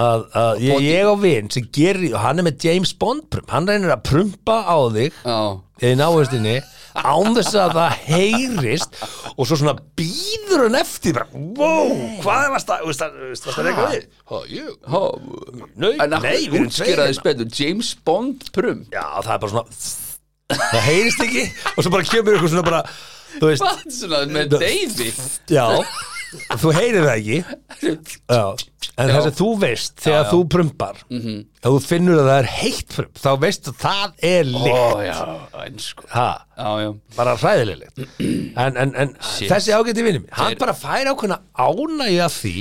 S1: Að, að ég, ég á vin sem gerir, og hann er með James Bond prump, hann reynir að prumpa á þig
S3: já
S1: í náhustinni án þess að það heyrist og svo svona býður hann eftir bara, wow, hvað varst það, veist það, veist það eitthvað við? Ha, ég,
S3: Há,
S1: Nei,
S3: En að
S1: nei, við erum tveir
S3: útskýraði
S1: hérna.
S3: spennur James Bond prum
S1: Já, það er bara svona Það heyrist ekki og svo bara kemur ykkur svona bara Þú veist,
S3: Hvað svona með Davey
S1: já Þú heyrir það ekki já. En þess að þú veist þegar þú prumpar mm
S3: Mhm.
S1: -hmm. Ef þú finnur að það er heitt prump Þá veist að það er líkt
S3: Ó já, en sko
S1: ha,
S3: Já, já
S1: Bara hræðilegt En, en, en þessi ágæti vinnum Hann bara fær ákveðna ánægja því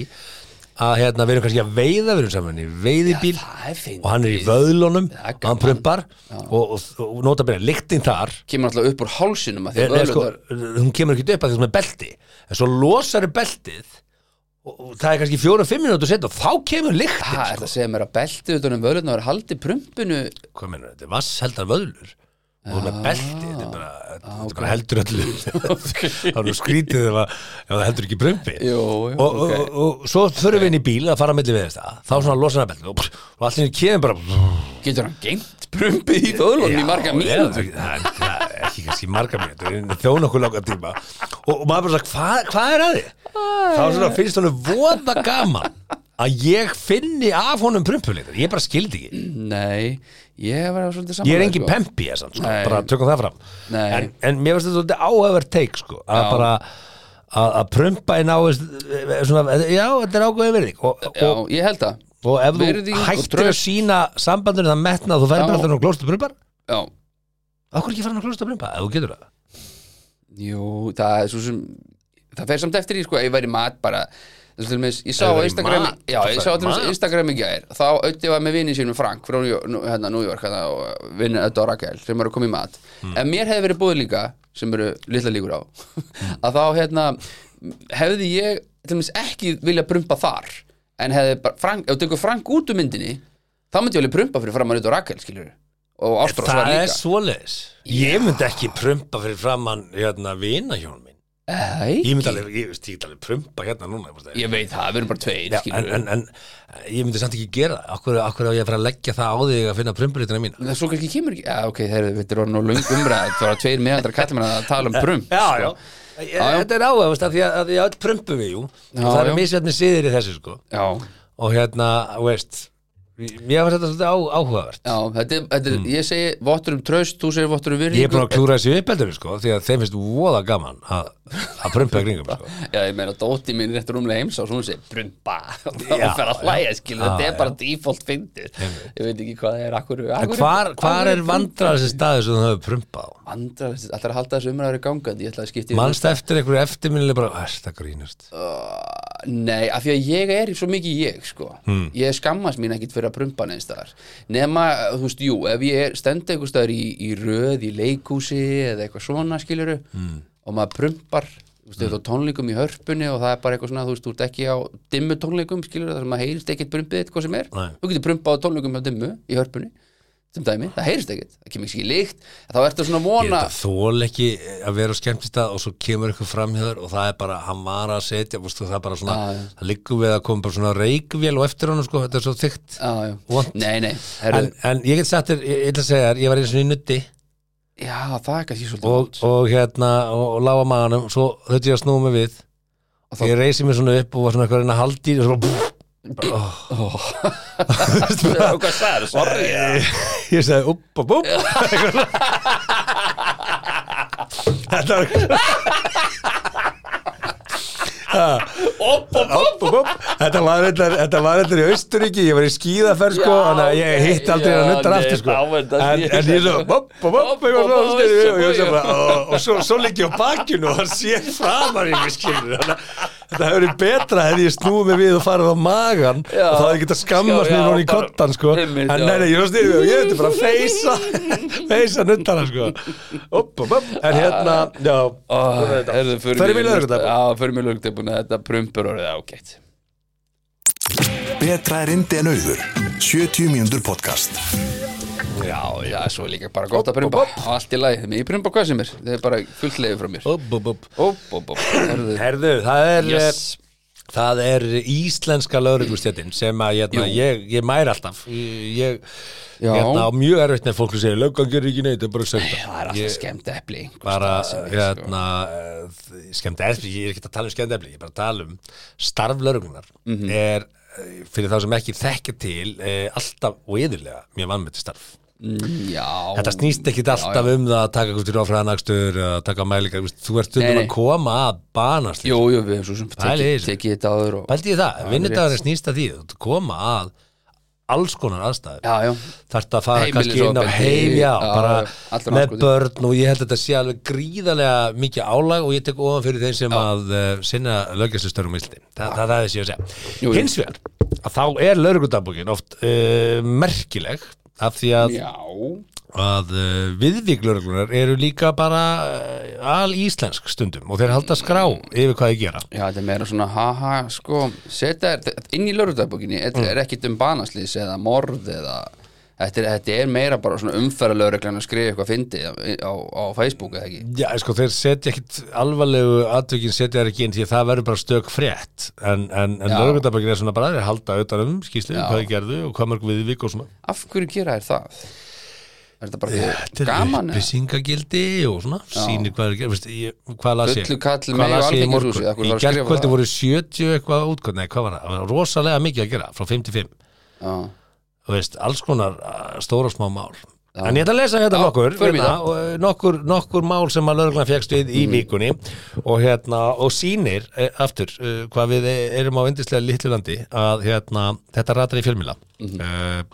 S1: að hérna, við erum kannski að veiða við erum saman í veiðibíl
S3: Já, það er fyndið.
S1: og hann er í vöðlunum
S3: Það er
S1: og
S3: gaman.
S1: hann prumpar og, og, og nota byrja lyktin þar
S3: kemur alltaf upp úr hálsinum að því
S1: er,
S3: að
S1: er, sko,
S3: vöðlurnar-
S1: hún kemur ekki upp að þessum er belti en svo losar er beltið og, og það er kannski fjóra-fimm minútur setna og þá kemur lyktin
S3: Ha, er
S1: sko.
S3: það að segja mér að beltið utan um vöðlunar haldi prumpinu
S1: hvað meina, þetta er vassheldar vöðlur og þú ert með belti, þetta er bara, þetta er bara heldur öllu þá erum skrítið ef, að, ef það heldur ekki brumpi
S3: Jú, jú,
S1: og, og,
S3: ok.
S1: og, og svo þurfum við inn í bíl að fara að milli við þetta þá svona losar hann belti og, og allir kemur bara
S3: getur hann gengt prumpið í vöðlunum í marga
S1: Já,
S3: mínútur
S1: það- það- það er ekki kannski marga mínútur þjóna okkur langa tíma og, og maður bara sagt, hvað hva er að þið? þá svona finnst honum voða gaman að ég finni af honum prumpuleitar, ég bara skildi ekki
S3: nei, ég var svolítið saman
S1: ég er engin pempi ég, samt, sko,
S3: Nei.
S1: bara tökum það fram
S3: Nei.
S1: en, en mér finnst þetta áhæfver teik sko, að
S3: Já.
S1: bara að að prumpa í náist eh, svona, já, þetta er ágæðin verðing og,
S3: já,
S1: og,
S3: ég held það
S1: og ef
S3: Virðing
S1: þú
S3: og
S1: hættir að
S3: traust.
S1: sína sambandinu það metna að þú
S3: Já.
S1: færi bara þannig að klósta prumpar
S3: já,
S1: okkur ekki farin að klósta prumpa, ef þú getur það
S3: jú, það er svo sem það fer samt eftir í sko, ef ég væri mat bara þess til meins, ég sá
S1: Ef
S3: á
S1: væri
S3: Instagram
S1: mat,
S3: já,
S1: það
S3: ég
S1: væri
S3: sá til meins
S1: mat.
S3: Instagram í gær þá auðvitað var með vinið sínum Frank frá New- Nú- hérna, New York hérna, og vinnir Ödda og Rakel sem eru að koma í mat
S1: Hmm.
S3: en mér hefði verið búið líka sem eru litla líkur á að þá hérna hefði ég til meins ekki vilja prumpa þar en hefði bara, Frank, ef þú tekur Frank út úr myndinni þá myndi ég alveg prumpa fyrir fram að Ödda og Rakel skilur og Ástrós var
S1: það
S3: líka
S1: er svoleiðis ég myndi ekki prumpa fyrir framann hérna vina hjónum minn
S3: Nei,
S1: ég myndi alveg, ég veist, ég get alveg prumpa hérna núna ég, ég,
S3: Ég veit það, við erum bara tveir
S1: já, en,
S3: skilur
S1: en, en ég myndi samt ekki gera það akkur, akkur á ég að fara að leggja það á þig að finna prumpuleitina mína
S3: Það svo kannski kemur ekki, já ok, þeir eru þetta orðin og löng umræð Það var tveir meðandra kallmenn að tala um prum
S1: já, já. Ég,
S3: já.
S1: Sko. þetta er áhæfast af því að, að því að öll prumpu við jú,
S3: Já,
S1: og það
S3: já.
S1: er misjöfni siðir í þessu sko
S3: já,
S1: og hérna, þú veist mér var þetta svolítið á, áhugavert
S3: já þetta, er- þetta, mm. ég segi vottur um traust, þú segir vottur um virðingu
S1: ég er búin að klúra þessu uppeldum sko því að þeim finnst voða gaman að að prumpa kringum sko.
S3: Já, ég meina, dótti mín réttur umlega heims og svo hún segir prumpa og þá
S1: Já,
S3: fer að
S1: já.
S3: hlæja, skilur,
S1: Já,
S3: þetta er
S1: já.
S3: bara default fyndið Ég veit ekki hvað það er, akkur,
S1: en
S3: akkur
S1: hvar, hvar er vandrar þessi staður sem þú hefur prumpað á
S3: Vandra, alltaf er að halda þessu umræður í gangandi Ég ætla að skipta yfir-
S1: Manst eftir einhverju eftirminnileg bara, "Æ, það grínast
S3: Nei, af því að ég er svo mikið ég sko.
S1: Hmm.
S3: ég skammast mín ekkit fyrir að prumpa neins staðar nema, þú veist, jú ef ég er stend einhvers staðar í, í röð í leikhúsi eða eitthvað svona skiluru
S1: Hmm.
S3: og maður prumpar þú veist, mm. tónleikum í hörpunni og það er bara eitthvað svona, þú veist, þú ert ekki á dimmu tónleikum skiluru, þar sem maður heyrist ekkit prumpið eitthvað sem er
S1: Nei.
S3: þú getur prumpað á tónleikum hjá dimmu í hörpunni sem dæmi, það heyrist ekkit, það kemur ekki líkt þá ertu svona að
S1: Ég
S3: vona
S1: þetta þól ekki eh, að vera á skemmtistað og svo kemur eitthvað framhjöður og það er bara, hann var að setja, veistu, það er bara svona,
S3: Já, já.
S1: það liggur við að koma bara svona reikvél og eftir honum, sko, þetta er svo þykkt.
S3: Já, já.
S1: Vont.
S3: Nei, nei, herru,
S1: En, en ég get sagt þér, ég ég ætla að segja þér, ég var eins og í nutti
S3: já, það er kannski svolítið
S1: og,
S3: vont.
S1: og hérna, og, og lága maganum, svo þauði ég að snúa mig við
S3: Og
S1: og
S3: þá-
S1: ég reysi mig svona upp og var svona eitthvað að reyna að haldi og svo bara,
S3: Veistu hvað sagði, sorry
S1: ég sagði upp og búpp Þetta var
S3: Opp og
S1: Hopp, hopp, hopp. Þetta var reyndar, þetta var reyndar í Austuríki, ég var í skíðaferð sko,
S3: Já,
S1: þannig að ég hitt aldrei
S3: já,
S1: hann undar
S3: nei,
S1: aftur sko.
S3: þá er þetta-
S1: En, en ég svo, hopp, hopp,
S3: Hopp,
S1: hopp, eitthvað
S3: hopp,
S1: svona,
S3: hopp,
S1: styrir, og,
S3: hopp,
S1: ég svo bara,
S3: hopp.
S1: og, og svo, svo ligg ég á bakkinu og hann sé framar í mig skilur. Þannig að þetta hefur verið betra hefði ég snúið mig við og farið á magan
S3: Já.
S1: og þá hefði ég getað skammast
S3: Já,
S1: mér
S3: já,
S1: hún í
S3: bara-
S1: kottan sko.
S3: Einmitt,
S1: En
S3: já.
S1: nei, nei, ég var styrðið og ég hefði bara að feysa, feysa nundana sko. Hopp, hopp, hopp, en hérna, já,
S3: Ah,
S1: Förum í lögregludeppuna.
S3: Já, förum í lögdebuna, þetta prumpur orðið ágætt
S2: Betra er indi en auður 70 mínútur podcast
S3: Já, já, svo er líka bara gott að prumpa Og Allt í lagi, ég prumpa hvað sem er Það er bara fullt leiði frá mér
S1: hopp, hopp, hopp.
S3: Opp, opp, opp, herðu
S1: Herðu, það er eh,
S3: Yes.
S1: það er íslenska lögreglustjættin sem að hérna,
S3: Jú.
S1: ég, ég mæri alltaf ég
S3: Já.
S1: hérna, á mjög erfitt nefn fólk sem segir löggan gerir ekki neitt, það er bara sögta
S3: Það er alltaf skemmt epli einhvers
S1: bara
S3: staðar sem er, sko.
S1: hérna, eh, skemmt efli ég er ekki að tala um skemmt efli, ég er bara að tala um starf lögreglunar
S3: Mhm.
S1: er eh, fyrir þá sem ekki þekkja til eh, alltaf og yðurlega mjög vannmöti starf
S3: Mm, Já
S1: Þetta snýst ekki alltaf um það að taka eitthvað til áfræðanakstur, að eh, taka mælingar, þú veist, þú ert stundum
S3: Nei, nei.
S1: að koma að banast
S3: Jú, jú, við erum svo sem
S1: er
S3: tekið
S1: leiðis.
S3: tekið þetta áður og
S1: Pældi ég það,
S3: er
S1: vinnudagurinn snýst að því þú ert að koma að alls konar aðstæður
S3: já, já,
S1: þarft að fara
S3: Heimilisofbeldi,
S1: kannski inn á heim já,
S3: já,
S1: bara
S3: allra
S1: með
S3: andskoti.
S1: börn og ég held að þetta sé alveg gríðarlega mikið álag og ég tek ofan fyrir þeim sem að uh, sinna lögjastustörnum íslandi Þa, það, það er þessi
S3: Jú,
S1: að
S3: jú.
S1: segja hins vegar, að þá er lögreglutabókin oft uh, merkileg af því að
S3: já
S1: að uh, viðvíklörglunar eru líka bara uh, al íslensk stundum og þeir halda skrá yfir hvað þeir gera
S3: Já, þetta er meira svona, haha, sko setja þér inn í lögreglutabókinni þetta
S1: Mm.
S3: er ekkit um banaslýs eða morð eða, þetta er, þetta er meira bara svona umferða lögreglan að skrifa eitthvað fyndi á, á, á Facebook eða ekki
S1: Já, sko, þeir setja ekkit alvarlegu atvikin setja þeir ekki inn því að það verður bara stök frétt en, en, en
S3: Já.
S1: lögreglutabækin er svona bara þeir halda auðvitað um skýslu,
S3: Já.
S1: hvað þeir gerðu og hvað mörg viðvík og svona
S3: Af hverju gera þér það? Er þetta bara
S1: Þetta
S3: því
S1: er
S3: gaman? eða?
S1: upplýsingagildi og svona, sýnir hvað þeir gerðu veist, ég, hvað las ég?
S3: Fullu kall
S1: Hvað
S3: með
S1: las ég í
S3: Alþingishúsið, af
S1: morgun?
S3: hverju þarf
S1: Í
S3: að skrifa
S1: gerðkvöldi
S3: það?
S1: voru 70 eitthvað útkvöld, nei, hvað var það? Það var rosalega mikið að gera, frá 5 til 5
S3: Já,
S1: þú veist, alls konar uh, stóra og smá mál en ég ætla að lesa hérna
S3: Já,
S1: nokkur,
S3: förum í
S1: hérna,
S3: það. Mm.
S1: og, uh, nokkur nokkur mál sem að lögreglan fegst við í vikunni og hérna, og sýnir eh, aftur, uh, hvað við erum á endislega litlu landi, að hérna þetta ratar í fjölmila mm
S3: Mhm.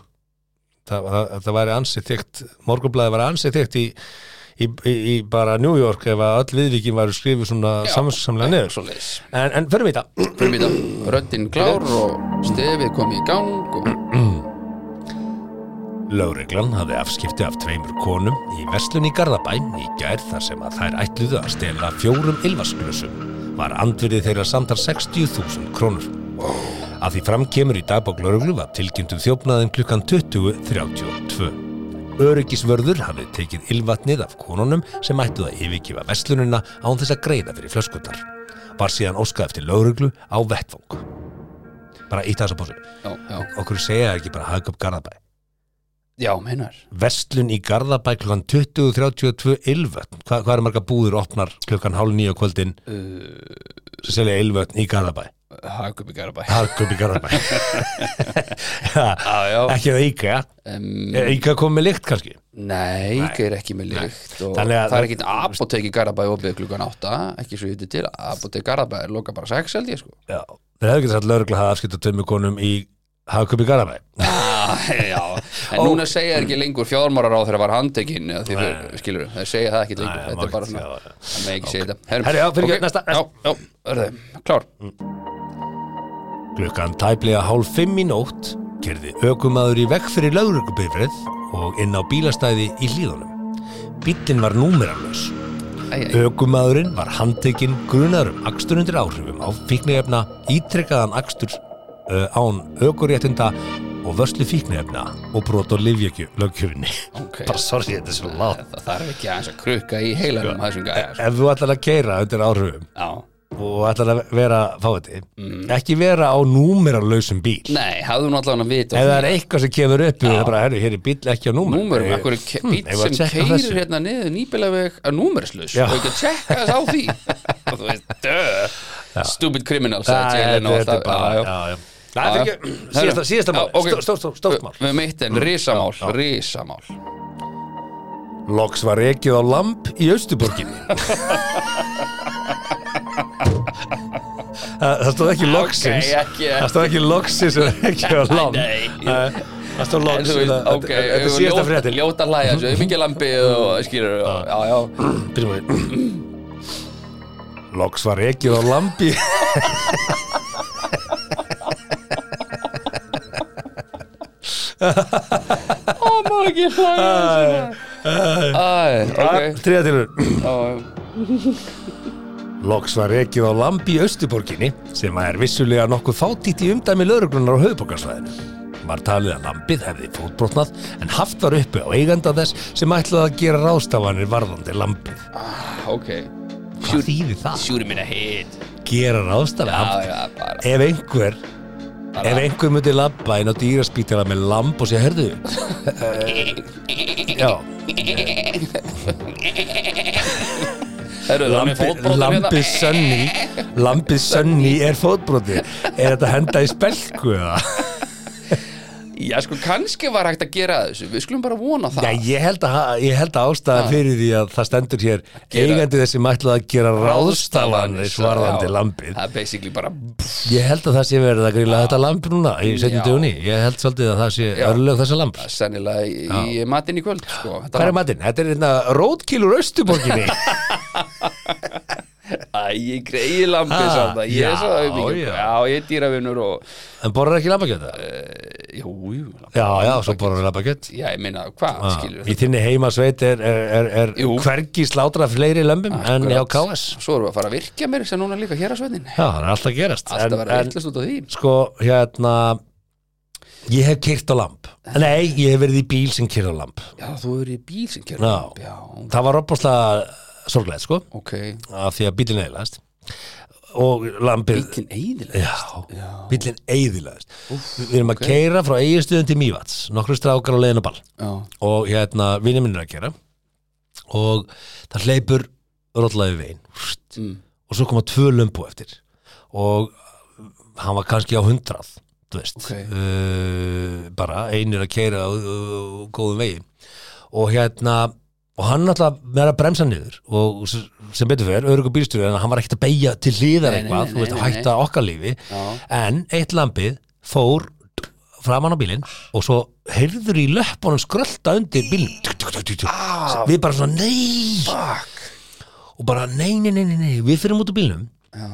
S1: það, það, það væri ansið þygt morgunblæði væri ansið þygt í, í, í, í bara New York ef að öll viðvíkin væri skrifuð svona
S3: Já.
S1: samsamlega niður
S3: svo leys
S1: en, en förum í það
S3: Fyrir mér þetta, röddinn klár og stefið kom í gang og
S1: Mm. Lögreglan hafði afskipti af tveimur konum í verslun í Garðabæ í gær þar sem að þær ætluðu að stela fjórum ylvasklösum var andvirðið þeirra samtar 60.000 krónur. Að því fram kemur í dagbók lögreglu var tilkynntum þjófnaðin klukkan 20.32. Öryggisvörður hafði tekið ylvatnið af konunum sem ætluðu að yfirkifa verslunina án þess að greiða fyrir flöskutar. Var síðan óskað eftir lögreglu á vettvang. Bara ítta þess að bósi.
S3: Já, já,
S1: Okkur segja þær ekki bara haka upp Garðabæ.
S3: já, meinar
S1: Vestlun í Garðabæ klukkan 20.32 Ylvötn, Hva, hvað eru marga búður opnar klukkan hálf nýja kvöldin sem selja Ylvötn í Garðabæ
S3: Hakup Uh, í Garabæ
S1: Harkup í Garðabæ ja,
S3: Já, já
S1: ekki það Íka
S3: um,
S1: Íka kom með lykt kannski
S3: Nei, ekki er ekki með lykt og
S1: Þannig að-
S3: það er ekkit apotek í Garabæ opið klukkan 8 ekki svo ég viti til, apotek Garabæ er loka bara 6 held ég sko
S1: já. þeir hefðu getið satt lögregla að hafa afskipt af tveimur konum í Harkup í Garðabæ
S3: ah, Já, en
S1: Ó.
S3: núna segja þeir ekki lengur fjármárar á þegar var handtekinn eða því fyrir, skilur, þeir segja það ekki lengur
S1: Nei,
S3: þetta
S1: má
S3: er bara svona,
S1: ekki segja það, já.
S3: það með ekki segja þetta
S1: Herri, já, fyrirgefðu, næsta,
S3: Já, já, örðu, klár
S1: Klukkan tæplega hálf fimm í nótt kerði ökumaður í vekk fyrir lögreglubifrið og inn á bílastæði í hlíðunum Bíllinn var númeralös Mm.
S3: Æ, æ,
S1: Ögumadurinn var handtekinn grunar um akstur undir áhrifum á fíknefna, ítrekkaðan akstur uh, án ökuréttinda og vörslu fíknefna og brot og livjökju lögkjöfinni.
S3: Ok.
S1: Bara sorry, þetta er svo látt.
S3: það þarf ekki aðeins að krukka í heilanum að þessum gæja sko.
S1: E, Ef þú ætlar að keira undir áhrifum
S3: Já,
S1: og ætlar að vera fáiði, ekki vera á númeralausum bíl.
S3: Mm. nei, hafðu nú allavega að vita
S1: Ef það er eitthvað sem kemur upp, það er bara, herru, hér er bíl ekki á númer.
S3: númurum,
S1: Eh,
S3: ekkur
S1: hmm,
S3: bíl
S1: eigum við að
S3: sem
S1: tékka
S3: keirir
S1: þessu?
S3: hérna niður nýbilaveg að númerslaus
S1: Já.
S3: og ekki að tjekka þess á því og þú veist, dö stupid criminal
S1: Það
S3: sagði
S1: er-
S3: Jelen og
S1: þetta er
S3: alltaf-
S1: bara,
S3: já, já.
S1: já, já. Nei, fyrir ekki, síðasta- Síðasta
S3: Já,
S1: mál,
S3: ok.
S1: Stó- stórt stórt- stórt mál. Mm.
S3: Við höfum eitt en risamál, risamál
S1: Loks var ekið á lamp í Austuborginni Það það stóð ekki loksins
S3: Ok, ekki-
S1: Það stóð ekki loksins og ekið á lamp
S3: Nei.
S1: Nei,
S3: En
S1: Það stóð
S3: þú
S1: loksins
S3: veist,
S1: Þetta
S3: ok,
S1: þetta- þetta er síðasta
S3: ljóta-
S1: fréttin Mm.
S3: Ljóta hlæja, þessu, mikið lampið og skýrur og- Já, já,
S1: Byrjum við Loks var ekið á lampi
S3: ó, má ekki hlæja Æ, ok
S1: Tríða tilur
S3: já,
S1: Loks var ekið á lampi í Östuborginni sem er vissulega nokkuð fátítt í umdæmi lauruglunar á höfuborgarsvæðinu. Var talið að lambið hefði fótbrotnað en haft var uppi á eiganda þess sem ætlaði að gera ráðstafanir varðandi lambið.
S3: Ok,
S1: Hvað þýðir það?
S3: sjúri minna hit
S1: Gera
S3: Já,
S1: ráðstafanir?
S3: já, bara
S1: Ef einhver, ef einhver myndi labba inn á dýraspítala með lamb og sé, herðu, já,
S3: Herru, það er með
S1: lambið
S3: fótbrotum hérna.
S1: lambið sönni, lambið sönni er fótbrotið. Er þetta að henda í spelku eða?
S3: Já, sko, kannski var hægt að gera þessu Við skulum bara vona það
S1: Já, ég held að, ég held að ástæða fyrir því að það stendur hér
S3: Gera-
S1: eigandi þessi mætlaði að gera ráðstafanir svarðandi
S3: Já,
S1: lambið.
S3: Það er basically bara
S1: Ég held að það sé verið að grila þetta lamb núna í setjum
S3: Já.
S1: dögunni. Ég held svolítið að það sé örlög þessa lamb.
S3: Sennilega í, í matinn í kvöld sko. Þetta
S1: Hvað er matinn? Þetta er hérna rótkýlur austuborginni.
S3: Æ, ég greiði lambið
S1: Ha,
S3: samt að Ég er
S1: Ah, já,
S3: svo auðvitað
S1: já.
S3: Já, ég er dýravinnur og
S1: en borrar ekki lambakjöta?
S3: Eh, Jú, jú lamb-
S1: Já, já, svo Ah, borrar lambakjöt.
S3: Já, ég meina, hvað skilur
S1: Í þinni heimasveit er, er, er, er
S3: Jú.
S1: hvergi slátra fleiri lömbum en hjá KS.
S3: Svo erum við að fara að virkja mér sem núna líka hér að sveinin
S1: Já, það er alltaf að gerast.
S3: Alltaf
S1: En-
S3: verða
S1: en-
S3: eitthvað út af því
S1: sko, hérna ég hef kyrt á lamp nei, ég hef verið í bíl sem kyrt á lamp
S3: Já, þú eru í bíl sem kjör
S1: Já.
S3: Já,
S1: það var opaslega sorglega, sko
S3: ok
S1: af því að bílinn eðilaðist og lampið
S3: Bílinn eiginlega
S1: já, bílinn eðilaðist við erum að okay. keira frá eiginstöðum til Mývats nokkru strákar á leiðinu ball
S3: Já,
S1: og hérna, vinni minn er að keira og það hleypur rollaði veginn
S3: mm.
S1: og svo koma tvö lömpu eftir og hann var kannski á hundrað þú veist
S3: Ok.
S1: uh, bara einir að keira á uh, góðum vegi og hérna og hann alltaf með að bremsa niður og s- sem betur fyrir, örugur bílstjóri en hann var ekkert að beigja til hliðar
S3: Nei, nei,
S1: eitthvað
S3: nei,
S1: þú veist,
S3: nei,
S1: að hætta okkar lífi
S3: Já.
S1: en eitt lampið fór framan á bílinn og svo heyrður í löppunum skrölda undir bílinn við bara svona nei og bara nei, nei, nei, nei, nei við fyrir út úr bílnum
S3: Já.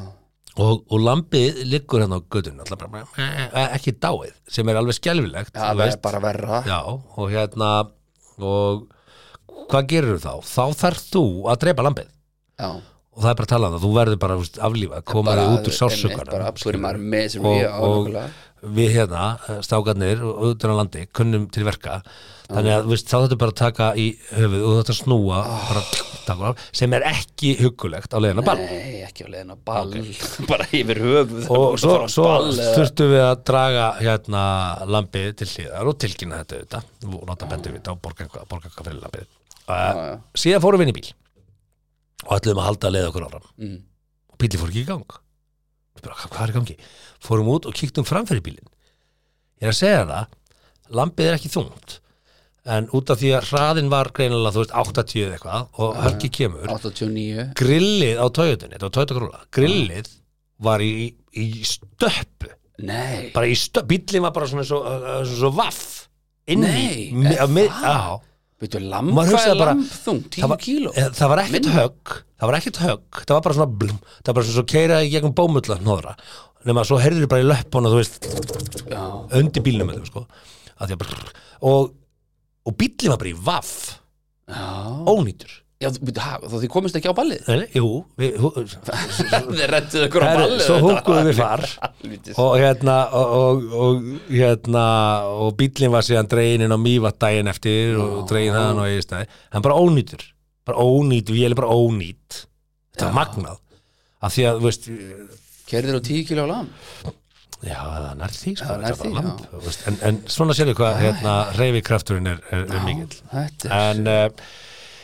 S1: og, og lampið liggur hérna á gödun alltaf bara, eh, ekki dáið sem er alveg skelfilegt
S3: Já, það er bara verra
S1: já, og hérna og hvað gerir þá? þá þarf þú að drepa lampið
S3: Já.
S1: og það er bara að tala um það, þú verður bara þú veist, aflífa, koma þig út úr
S3: einmitt, bara
S1: sásökana
S3: fyrir maður með sem
S1: Og-
S3: við á
S1: og-
S3: nákvæmlega.
S1: við hérna, stákarnir og auðvitað á landi, kunnum til verka
S3: Ah.
S1: þannig að þú veist, þá þetta bara að taka í höfuð og þetta snúa bara, taka af, sem er ekki huggulegt á leiðina ball
S3: nei, ekki á leiðin á ball bara yfir höfuð
S1: og svo, svo
S3: svo
S1: þurftum við að draga hérna lampið til hliðar og tilkynna þetta auðvitað og láta bendur við þetta og borga eitthvað, borga eitthvað fyrir lampið uh,
S3: já.
S1: síðan fórum við inn í bíl og ætluðum að halda að leiða okkur áfram
S3: Mm.
S1: og bíli fór ekki í gang Við bara, hvað er í gangi? fórum út og kíktum fram fyrir bílinn ég er að segja það lampið er ekki þungt en út af því að hraðin var greinilega þú veist 80 eða eitthvað og hörki kemur
S3: 89
S1: grillið á Toyotunni, þetta var Toyota Corolla grillið var í, í stöppu,
S3: nei,
S1: bara í stöppu bíllinn var bara svona svo, uh, svo, svo vaff eh, inn í,
S3: Nei,
S1: mi-
S3: er
S1: á mið-
S3: það?
S1: á.
S3: veitu, lamb,
S1: Maður
S3: hvað
S1: hugsaði
S3: er
S1: bara-
S3: lambþung, 10
S1: það var,
S3: kíló
S1: eh, það var ekkert
S3: Minna.
S1: högg það var ekkert högg, það var bara svona blum, það var bara svona svo keira í gegnum bómulla hnóðra, nema svo heyrður bara í löppuna þú veist,
S3: já,
S1: undir bílnum þetta, sko, Af því að brr, og, og bíllinn var bara í vaff
S3: já,
S1: ónýtur,
S3: já þú- veitu, ha, þá þið komist ekki á ballið
S1: Nei, nei, jú við, hú,
S3: þið rettuðu ykkur á
S1: Herru,
S3: ballið
S1: svo
S3: þetta
S1: húkkuðum
S3: var
S1: við far.
S3: helvítis.
S1: og hérna og, og, og hérna og bíllinn var síðan dreginin á mývat daginn eftir og dregin þaðan og eðistæði hann bara ónýtur, bara ónýt vél er bara ónýt, þetta var magnað af því að, þú veist já,
S3: kerðir á 10 kíló lamb
S1: það er nær því sko,
S3: Já, nær
S1: þetta er
S3: því,
S1: bara lamb, þú veist, en, en svona sérðu hvað hérna, reyfikrafturinn er, er, er mikill
S3: þetta er
S1: en uh,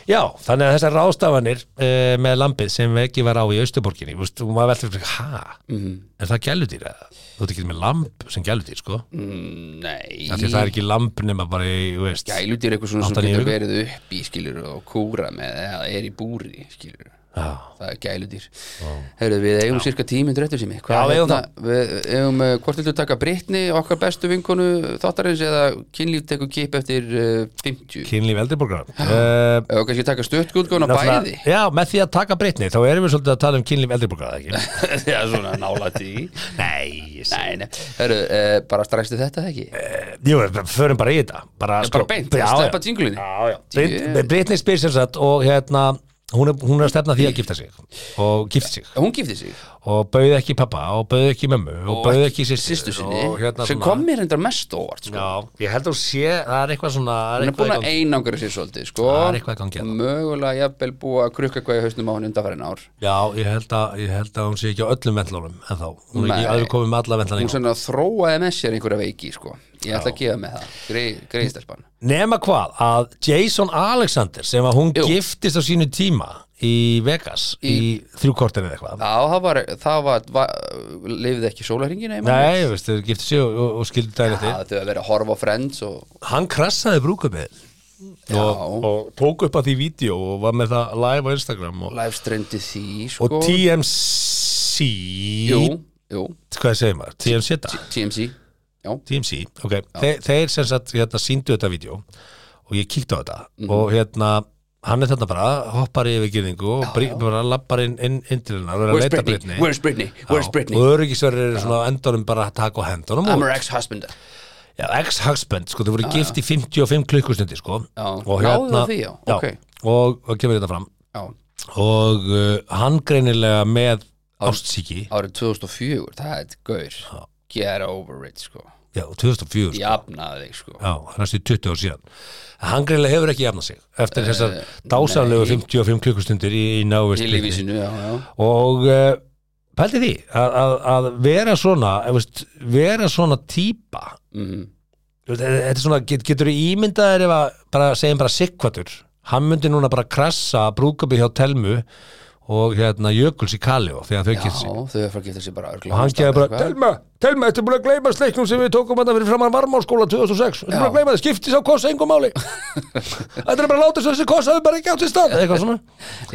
S1: já, þannig að þessar ráðstafanir uh, með lambið sem ekki var á í Austuborginni, þú veist, og maður veldur fyrir, ha,
S3: Mm.
S1: er það gæludýr eða? þú ert ekki með lamb sem gæludýr, sko
S3: Mm, nei
S1: Af því að það er ekki lamb nema bara í, þú veist
S3: gælutir eitthvað svona sem
S1: Átta, níu
S3: getur
S1: vikur.
S3: verið upp í skilur og kúra með eða er í búri skilur
S1: Já.
S3: það er gæludýr Heyrðu, við eigum cirka tíminn drættur sem ég hérna,
S1: Já, við eigum
S3: við eigum uh, hvort viltu taka Brittany okkar bestu vinkonu þáttarins eða kynlíf tekur kip eftir uh, 50
S1: Kynlíf eldriborgara uh,
S3: og kannski taka stöttgúlgóna bæði
S1: náttúrulega- Já, með því að taka breytni þá erum við svolítið að tala um kynlíf eldriborgara ekki?
S3: já svona nála tí
S1: Nei, ég sé
S3: nei, nei, Heru, uh, bara strækstu þetta eða ekki
S1: Jú, við förum bara í þetta Eh, Bara,
S3: bara beint,
S1: já,
S3: sleppa
S1: já.
S3: tínglinni
S1: Já, já. Brit- Britney Spears sem sagt og hérna hún er, hún er að stefna að því að gifta sig og gifta sig
S3: hún gifti sig
S1: og bauði ekki pappa og bauði ekki mömmu og, bauði ekki sýstu
S3: sýstu sinni
S1: hérna
S3: sem
S1: svona-
S3: kom mér reyndar mest óvart sko.
S1: Já, ég held að hún sé, það er eitthvað svona það
S3: hún er
S1: eitthvað
S3: búin
S1: í
S3: að
S1: gangi.
S3: einangra sér svolítið sko.
S1: Það er eitthvað í gangi hérna.
S3: mögulega jafnvel búið að krukka hvað í hausnum á hann undanfærin ár
S1: Já, ég held, að, ég held að hún sé ekki á öllum vendlunum en þá, hún er
S3: Nei.
S1: ekki aður komið með alla
S3: hún
S1: vendlunum
S3: svona þróaði með sér einhverja veiki sko. ég ætla að gefa með það Grei- greiðstelpan
S1: Nema hvað, að Jason Alexander sem að hún
S3: Jú.
S1: giftist á sínu tíma í Vegas í, í þrjúkortin eða eitthvað
S3: Já, það var, það var, var lifið ekki sólarhingina
S1: Nei, þú veist, þau giftu sig og, og, og skildu daginn eftir
S3: Það þau að vera að horfa á Friends og
S1: Hann krassaði brúkumið og, og tók upp að því vídeo og var með það live á Instagram og,
S3: live strandi því sko.
S1: og TMC
S3: Jú, jú,
S1: Hvað segir maður? TMC þetta?
S3: TMC Já,
S1: TMC, ok, Þe, þeir sem sagt hérna, síndu þetta vídeo og ég kíkti á þetta
S3: Mhm.
S1: og hérna hann er þarna bara, hoppar yfir gyrningu og brí, bara lappar inn, inn, inn til hennar og er að
S3: where's
S1: leita
S3: Britney?
S1: Britney
S3: Where's Britney? Where's
S1: Já,
S3: Britney?
S1: og öryggisverður eru svona á endanum bara að taka á hendunum
S3: I'm
S1: og
S3: her ex-husband
S1: já, ex-husband, sko, þau voru gift í 55 klukkustundi, sko
S3: Já.
S1: og
S3: Náðu
S1: hérna
S3: það því, já, ok.
S1: og, og kemur þetta fram
S3: Já,
S1: og uh, hann greinilega með ástsíki
S3: árið 2004, það er gaur Get over it, sko
S1: já, 2004, sko.
S3: Jafnaði þig, sko
S1: Já, næstu 20 ár síðan Hann greinlega hefur ekki jafnað sig eftir þessar dásanlegu 55 klukkustundir í, í návist
S3: Eh, Í
S1: Britney.
S3: lífísinu, já, já
S1: og uh, pælti því að, að, að vera svona eh, veist, vera svona típa
S3: Mhm.
S1: Þú veist, þetta er svona, get, getur þú ímyndaðir ef að bara segjum bara sikkvatur hann myndi núna bara krassa brúkabið hjá Telmu og hérna Jökuls í Kaleo þegar þau
S3: Já,
S1: kynst sig
S3: þau er fara að geta sér bara örgla
S1: og hann geði bara, Telma, Telma, þetta er búin að gleyma sleiknum sem við tókum hann fyrir framann varmáskóla 2006, þetta er búin að gleyma það, skiptis á kossa engum máli þetta er bara að láta svo þessi kossa hafi bara ekki átt í stað, eitthvað svona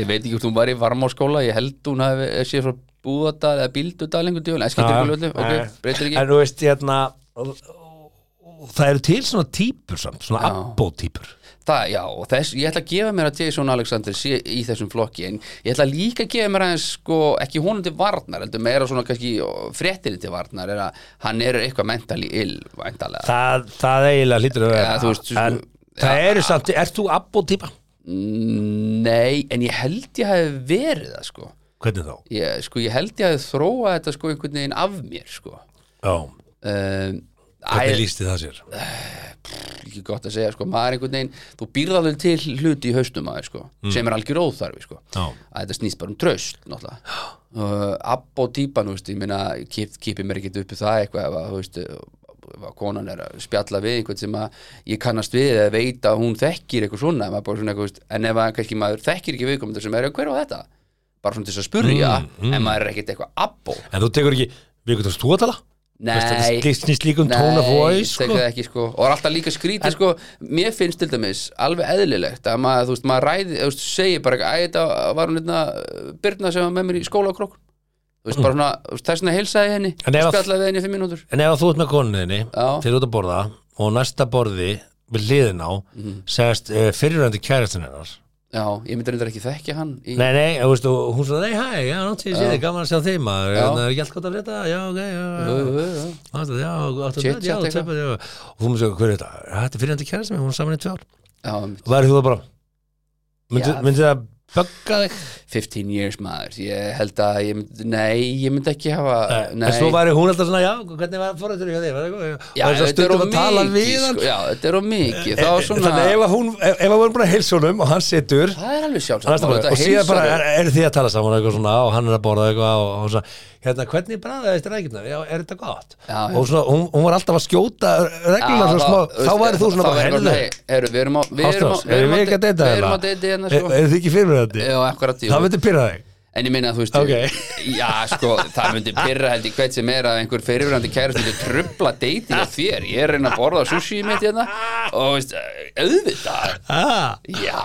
S3: Ég veit ekki hvort hún var í varmáskóla, ég held hún hafi eh, sé frá búðadal eða bíldudal einhvern djúvel, en skiptir
S1: Já,
S3: ekki öllu,
S1: nei.
S3: ok, breytir ekki
S1: en þú veist, hérna og- og- það eru til svona típur samt, svona abbótípur
S3: Það, já, og þess, ég ætla að gefa mér að Jason Alexander sé í þessum flokki en ég ætla líka að gefa mér aðeins sko, ekki honum til varnar, heldur meira svona kannski fréttinni til varnar er að hann er eitthvað mentally ill, væntalega
S1: það, það eiginlega hlýtur að vera
S3: Ja, þú veist,
S1: en
S3: sko,
S1: það eru samt, ert þú abbótípa?
S3: Nei, en ég held ég hafi verið það sko
S1: Hvernig þá?
S3: ég, sko, ég held ég hafi þróað þetta sko einhvern veginn af mér sko
S1: Já,
S3: um,
S1: hvernig lísti það sér?
S3: ekki gott að segja sko, maður einhvern veginn þú býrðaður til hluti í haustum maður sko, sem er algjör óþarfi sko.
S1: Já.
S3: að þetta snýst bara um tröst náttúrulega uh, abb og típan, þú veist, ég meina kip, kipi mér ekki upp í það eitthvað ef að, þú veist, ef að konan er að spjalla við einhvern sem að ég kannast við eða veit að hún þekkir eitthvað svona, maður bara svona eitthvað, þú veist, en ef að kannski maður þekkir ekki viðkomendur sem er hver á þetta bara svona til þess að spurja, en maður er ekkert eitthvað abbo,
S1: En þú tekur ekki, við getum þú að tala?
S3: nei
S1: Þetta snýst líka um tone of voice
S3: tekur
S1: sko.
S3: það ekki sko og er alltaf líka skrítið sko mér finnst til dæmis alveg eðlilegt að maður, þú veist, maður ræði, þú veist, segir bara að þetta var hún hérna Birna sem var með mér í skóla á krókun þú veist, bara svona, þú veist, þess vegna heilsaði ég henni
S1: Mm. En ef að-
S3: spjallaði við henni í fimm mínútur
S1: En ef þú ert með konuninni
S3: Já.
S1: þeir eru út að borða og næsta borði við hliðin á,
S3: Mhm.
S1: segast uh, fyrirrandi kærastin hennar
S3: já, ég myndi reyndar ekki þekki hann í,
S1: Nei, nei, og veistu, og hún svona, nei, hæ, já, náttúrulega séð þið, gaman að sjá þig maður,
S3: Já.
S1: en það er ekki allt gott að frétta já, ok, já, já,
S3: Ö, ö, ö.
S1: Ástu, já, ástu,
S3: Chit-chat
S1: já,
S3: eitthvað.
S1: tjöpa, já og þú mér segja, hver er þetta? "Ja, Þetta er fyrirrandi kærastin minn, hún er saman í tvö ár
S3: já, einmitt.
S1: Væri þú það bara, myndi,
S3: Já.
S1: myndi það bögga þig?
S3: 15 years maður ég held að, ég myndi, nei, ég myndi ekki hafa nei,
S1: En svo væri hún alltaf svona, já, hvernig var fórhættur hjá þig? Var það góð?"
S3: já,
S1: Og svo
S3: þetta er
S1: stundum
S3: of
S1: að tala
S3: mikið
S1: við hann. Eh,
S3: sko, já, þetta er of mikið það, var svona,
S1: Þannig ef að hún, ef ef að hún er búin að heilsa honum og hann situr
S3: það er alveg
S1: Hann er
S3: sjálfsagt
S1: alltaf bara-
S3: maður,
S1: og
S3: þetta
S1: síðan bara
S3: heilsar-
S1: er, er þið að tala saman eitthvað svona og hann er að borða eitthvað og hún sagði, hérna hvernig bræðið þetta rækjumna, já er þetta gott
S3: Já, já.
S1: og svona, hún, hún var alltaf að skjóta regluna
S3: Já,
S1: svona smá,
S3: veist,
S1: þá væri þú svona
S3: þá
S1: bara
S3: væri
S1: henni,
S3: nei, heyrðu, við erum á við erum á-
S1: ástofs,
S3: við
S1: erum
S3: erum á
S1: við ekki að deyta
S3: við erum að
S1: hérna?
S3: deyta hérna
S1: Er-
S3: sko
S1: Eru þið ekki fyrir þetta?
S3: Já, akkurat, jú.
S1: Það myndi pyrra þig
S3: en ég minna þú veist
S1: Ok.
S3: já sko það myndi pyrra held ég hvert sem er að einhver fyrirverandi kærast myndi trubla deytið á þér ég er að reyna að borða sushi mitt hérna og veist auðvitað
S1: ah,
S3: já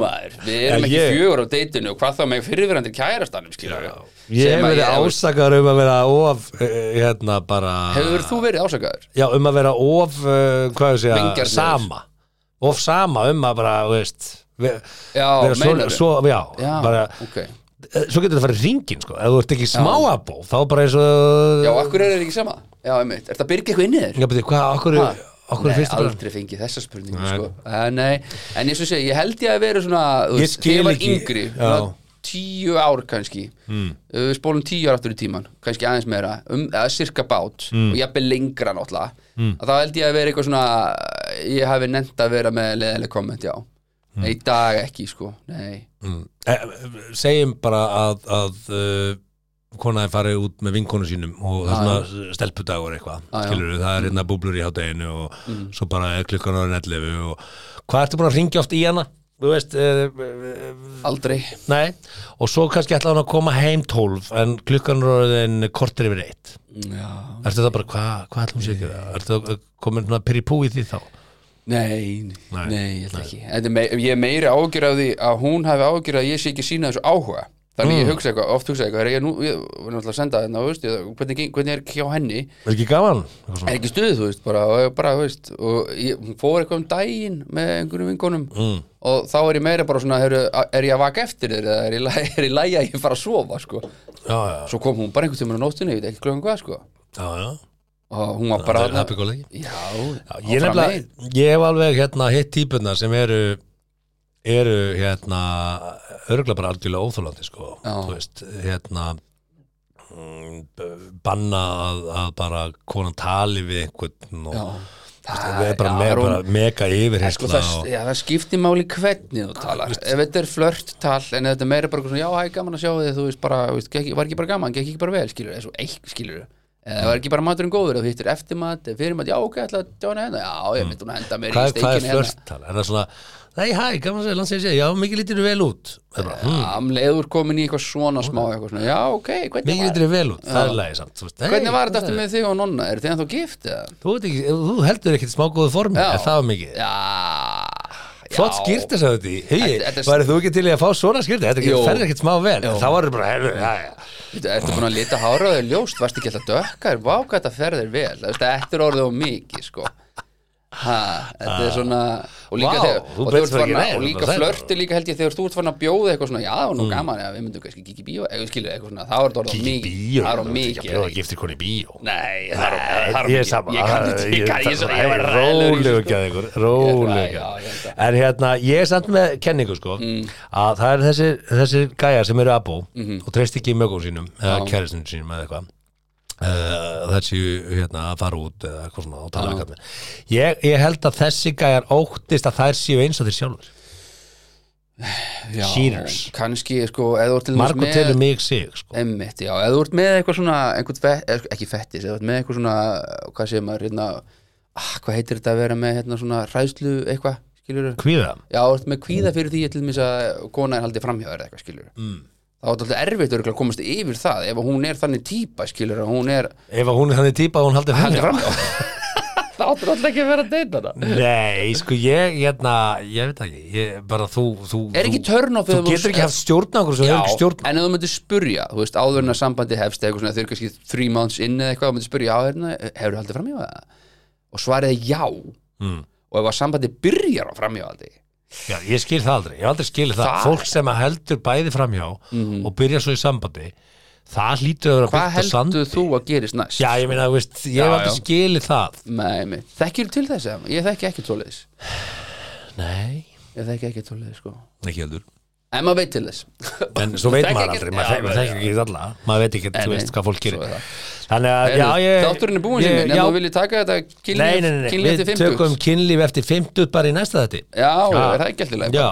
S3: maður við
S1: En
S3: erum ekki
S1: ég-
S3: fjögur á deytinu og hvað þá með fyrirverandi kærastanum skilur við
S1: Ég hef
S3: Sem að
S1: verið ásakar um að vera of eh, hérna bara
S3: hefur þú verið ásakaður
S1: já, um að vera of uh, hvað ég segja,
S3: Vingjarnlegur.
S1: sama of sama um að bara, þú veist ve-
S3: Já,
S1: vera svo,
S3: meinarðu?
S1: svo, já,
S3: já
S1: bara
S3: ok
S1: Eh, svo getur það farið ringin sko, ef þú ert ekki smá abó þá bara eins og
S3: já akkur er þetta ekki sama já einmitt er þetta að byrja eitthvað inn í þér
S1: já, beti, hvað, okkur,
S3: Ha?
S1: okkur
S3: Nei,
S1: finnst það bara
S3: aldrei fengið þessa spurningu
S1: Nei.
S3: sko. uh, nei, en eins og segja, ég held ég að vera svona, þú
S1: Ég
S3: veist, þegar
S1: skil
S3: ég var
S1: ekki,
S3: yngri
S1: já. Hmm.
S3: svona tíu ár kannski mm. við spólum tíu ár aftur í tíman kannski aðeins meira, um, eða cirka bát
S1: Hmm.
S3: og jafnvel lengra náttúrulega mm. að það held ég að vera eitthvað svona ég hafi nefnt að vera með leðileg komment, já
S1: Hmm.
S3: nei, í dag ekki, sko, nei
S1: mm. eh, segjum bara að, að uh, konaði farið út með vinkonu sínum og það er svona stelpudagur eitthvað,
S3: já. Mm.
S1: skilur það er hérna búblur í hátæginu og svo bara er klukkan ára 11 og hvað ertu búin að ringja oft í hana? þú veist uh,
S3: Aldrei
S1: Nei, og svo kannski ætlaði hann að koma heim 12 en klukkan er orðin kortir yfir eitt
S3: Já.
S1: Ertu það bara, hvað hva ætlum sér að gera? Ertu það komin svona piripú í því þá?
S3: Nei, nei,
S1: Nei,
S3: nei, ég held ekki Þetta er mei, Ég er meiri ágjur af því að hún hafi ágjur að ég sé ekki sína þessu áhuga Þannig
S1: Mm.
S3: ég hugsa eitthvað, oft hugsa eitthvað er ég, nú, ég var náttúrulega að senda þetta, veist, ég, hvernig, geng- hvernig er ekki á henni
S1: Er ekki gaman? Eitthvað svona.
S3: er ekki stuð, þú veist, bara, og- bara þú veist, og ég, hún fór eitthvað um daginn með einhverjum vingunum mm. og þá er ég meira bara svona, heru, er ég að vaka eftir þér eða er ég, læ- er ég lægi að ég fara að sofa, sko
S1: Já, já,
S3: Svo kom hún bara einhvern tímann á nóttinni, ég veit ekki klöðum hvað, sko
S1: já, já
S3: og hún var bara
S1: Það er happy go lucky
S3: Já,
S1: Já, Ég nefnilega, ég hef alveg hérna hitt típurnar sem eru eru hérna örgla bara algjörlega óþólandi sko
S3: Já.
S1: þú veist, hérna mm, b- banna að, að bara konan tali við einhvern og
S3: Já.
S1: það er bara, me,
S3: hún-
S1: bara mega yfir
S3: Sko, það, já, það skiptir máli hvernig þú talar ef þetta er flörttal en ef þetta er meira bara eitthvað svona, já, hæ, gaman að sjá þig þú veist bara, þú veist, gekk, var ekki bara gaman, gekk ekki bara vel skilur, eða svo eitt skilur eða var ekki bara maturinn góður, ef þú hittir eftirmat eða fyrirmat, já, ok, ætla að djána hérna já, ég myndi hún að henda mér
S1: Mm. hvað,
S3: í
S1: hvað er
S3: steikinu hérna
S1: flörttal? Er það svona, nei, hæ, gaman að segja, landsið segja, já, mikið lítur þú vel út Það er bara, hm,
S3: amleður komin í eitthvað svona smá eitthvað svona, já, ok, hvernig
S1: mikið
S3: var
S1: lítur þú vel út, það er lægi samt þú veist, hey,
S3: hvernig var þetta aftur með þig og nonna, er þið ennþá gift eða?
S1: Þú, ert ekki, þú heldur ekkert smá góðu formi,
S3: Já.
S1: er það mikið?
S3: já,
S1: Flott skýrt þess að þetta í Hugi,
S3: Þetta- þetta er-
S1: værið þú ekki til í að fá svona skýrt Þetta
S3: Jú.
S1: ekki- fer ekkert smá vel en Þá var þetta bara, herru, já, já
S3: Þetta ertu búin að lita hára á þér ljóst varst ekki alltaf dökkar, vá hvað þetta ferðir vel Þú veist, þetta er orðið og mikið sko ha, þetta er svona og líka,
S1: Vá,
S3: þegar,
S1: þú
S3: og, þegar þú ert
S1: breytist ekki
S3: farin að-
S1: neitt,
S3: og líka
S1: það er bara- Mm.
S3: flörti líka held ég þegar þú ert farin að bjóða eitthvað svona, já það var nú gaman eða við myndum kannski kíkja í bíó, eða skilur eitthvað svona það var þetta orðið of
S1: Kíkja í
S3: mikið,
S1: bíó
S3: það er orðið
S1: þú ert ekki að
S3: mikið
S1: bjóða gift ykkur í bíó
S3: Nei, það er orðið- það er orðið
S1: Ég er
S3: mikið.
S1: sama
S3: ég kann
S1: Æ,
S3: ekki ég kann- ég- ég var ræðilegur í
S1: Æ,
S3: þessu,
S1: Rólegur
S3: sko.
S1: gæðingur Rólegur
S3: Já, já, Mm. ég held
S1: gæðingur En hérna, ég er samt með kenningu sko að það er þessir, þessir gæjar sem eru abó
S3: Mhm.
S1: og treyst ekki mögum sínum eða kæristinu sínum eða eitthvað uh, það séu hérna að fara út eða eitthvað svona og tala við kallin ég, ég held að þessi gæjar óttist að þær séu eins og þeir sjálfur
S3: Já,
S1: Cheaters.
S3: kannski sko, eða þú ert til dæmis
S1: Margur
S3: með-
S1: telur mig sig sko
S3: Emmitt, já, eða þú ert með eitthvað svona einhvern fett, eða sko- ekki fettis, eða þú ert með eitthvað svona hvað segir maður, hérna ah, hvað heitir þetta að vera með hérna svona hræðslu eitthvað, skilur
S1: Kvíða
S3: Já, þú ert með kvíða fyrir því til mis að kona er haldið framhjá þér eða eitthvað, skilur mm. þá er þetta alltaf erfitt örugglega að komast yfir það ef hún er þannig típa, skilur að hún er
S1: Ef að hún er þannig típa að hún haldi fram
S3: haldið framhjá þá áttur alltaf ekki að vera að deyta það
S1: Nei, sko ég, hérna, ég veit ekki ég, bara þú, þú
S3: Er ekki
S1: þú-
S3: turn off
S1: Þú
S3: ef þú-
S1: getur ekki haft stjórn á okkur sem þú hefur ekki stjórn á.
S3: en ef þú myndir spurja, þú veist, áður en að sambandi hefst eða eitthvað svona, þau eru kannski three months inn eða eitthvað, þú myndir spurja, já, hérna, hefur þú haldið framjá það? Og svarið er já
S1: Hmm.
S3: mm. og ef að sambandi byrjar á framjáhaldi
S1: Já, ég skil það aldrei, ég hef aldrei skil það
S3: Það- Mhm.
S1: Fólk sem að heldur bæði framhjá og byrja svo í sambandi það hlýtur að vera
S3: hvað
S1: byggt á sandi
S3: heldur þú að gerist næst?
S1: Já, ég meina, þú veist, ég hef
S3: Já,
S1: aldrei
S3: já.
S1: skilið það
S3: Nei, nei, þekkir til þess að ég þekki ekki tóliðis
S1: Nei,
S3: ég þekki ekki tóliðis, sko
S1: ekki heldur
S3: en maður veit til þess
S1: En svo veit
S3: Þekki
S1: maður
S3: ekki-
S1: aldrei,
S3: Já,
S1: maður
S3: já,
S1: þekkir ekki alla maður veit ekki,
S3: Nei,
S1: þú
S3: nei,
S1: veist, hvað fólk
S3: svo er
S1: gerir
S3: það.
S1: Þannig að, já, ég
S3: þátturinn er búin
S1: ég-
S3: sinni, en
S1: já,
S3: þú viljið taka þetta
S1: Nei, nei, nei,
S3: kynlíf
S1: nei,
S3: kynlíf
S1: við
S3: til 50
S1: tökum kynlíf eftir 50 bara í næsta þetta
S3: já, er það ekki alltaf leið
S1: Já,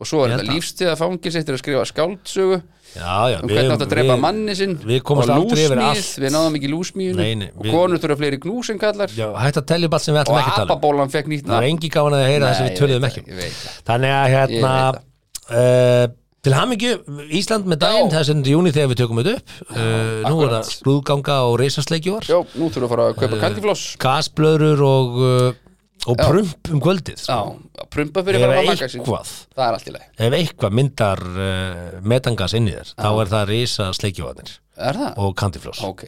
S3: og svo er
S1: Ég held
S3: þetta lífstíða fangis eftir að skrifa skáldsögu um
S1: já, já við-
S3: hvernig átt að drepa
S1: við-
S3: manni sinn
S1: Við komumst
S3: og
S1: aldrei yfir
S3: lúsmýð,
S1: allt
S3: við náðum ekki
S1: Nei, nei,
S3: lúsmýðinu og
S1: við-
S3: konur þurfa fleiri gnús en kallar
S1: Já, hætt að telja upp allt sem við ætlum
S3: og
S1: ekki að tala um.
S3: apabólan fekk nýtt
S1: Það var
S3: nafn.
S1: engi gaman að heyra það sem
S3: Nei,
S1: við
S3: ég
S1: töluðum
S3: veit
S1: ekki
S3: það, ég veit það.
S1: um. Þannig að
S3: Ég
S1: hérna
S3: veit
S1: uh, Til hamingju Ísland með daginn
S3: Já.
S1: það er 7. júni þegar við tökum þetta upp uh, Nú er
S3: akkurat.
S1: það skrúðganga og reisasleikjúar
S3: já, nú þurfa að fara að
S1: Eh,
S3: kaupa kandifloss
S1: gasblöður og, uh, og prump um kvöldið
S3: já, að prumpa fyrir
S1: Ef
S3: bara að maka sig
S1: eitthvað
S3: það er allt í lagi,
S1: Ef eitthvað myndar uh, metangas inn í þér þá er það reisasleikjúarnir
S3: er það?
S1: og kandifloss
S3: ok,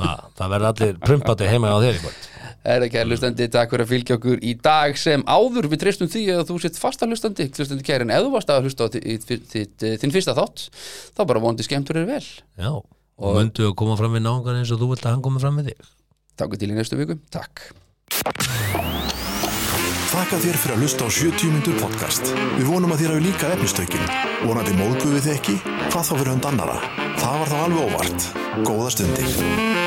S1: ah, Það verður allir prumpandi heima á þér í kvöld
S3: er það kæri hlustandi takk fyrir að fylgja okkur í dag sem áður við treystum því að þú sett fasta hlustandi hlustandi kæri en ef þú varst að hlusta á þi- í- þi- þitt- eh, þinn fyrsta þátt þá bara vonandi skemmtur er vel
S1: Já, og myndu að koma fram við náungan eins og þú vilt að hann koma fram við þig
S3: takk til í næstu viku, takk
S2: Þakka þér fyrir að hlusta á 70 mínútur podcast. Við vonum að þér hafi líka efnistökin. Vonandi móðguðu þið ekki? Hvað þá fyrir hund annara? Það var þá alveg óvart. Góða stundir.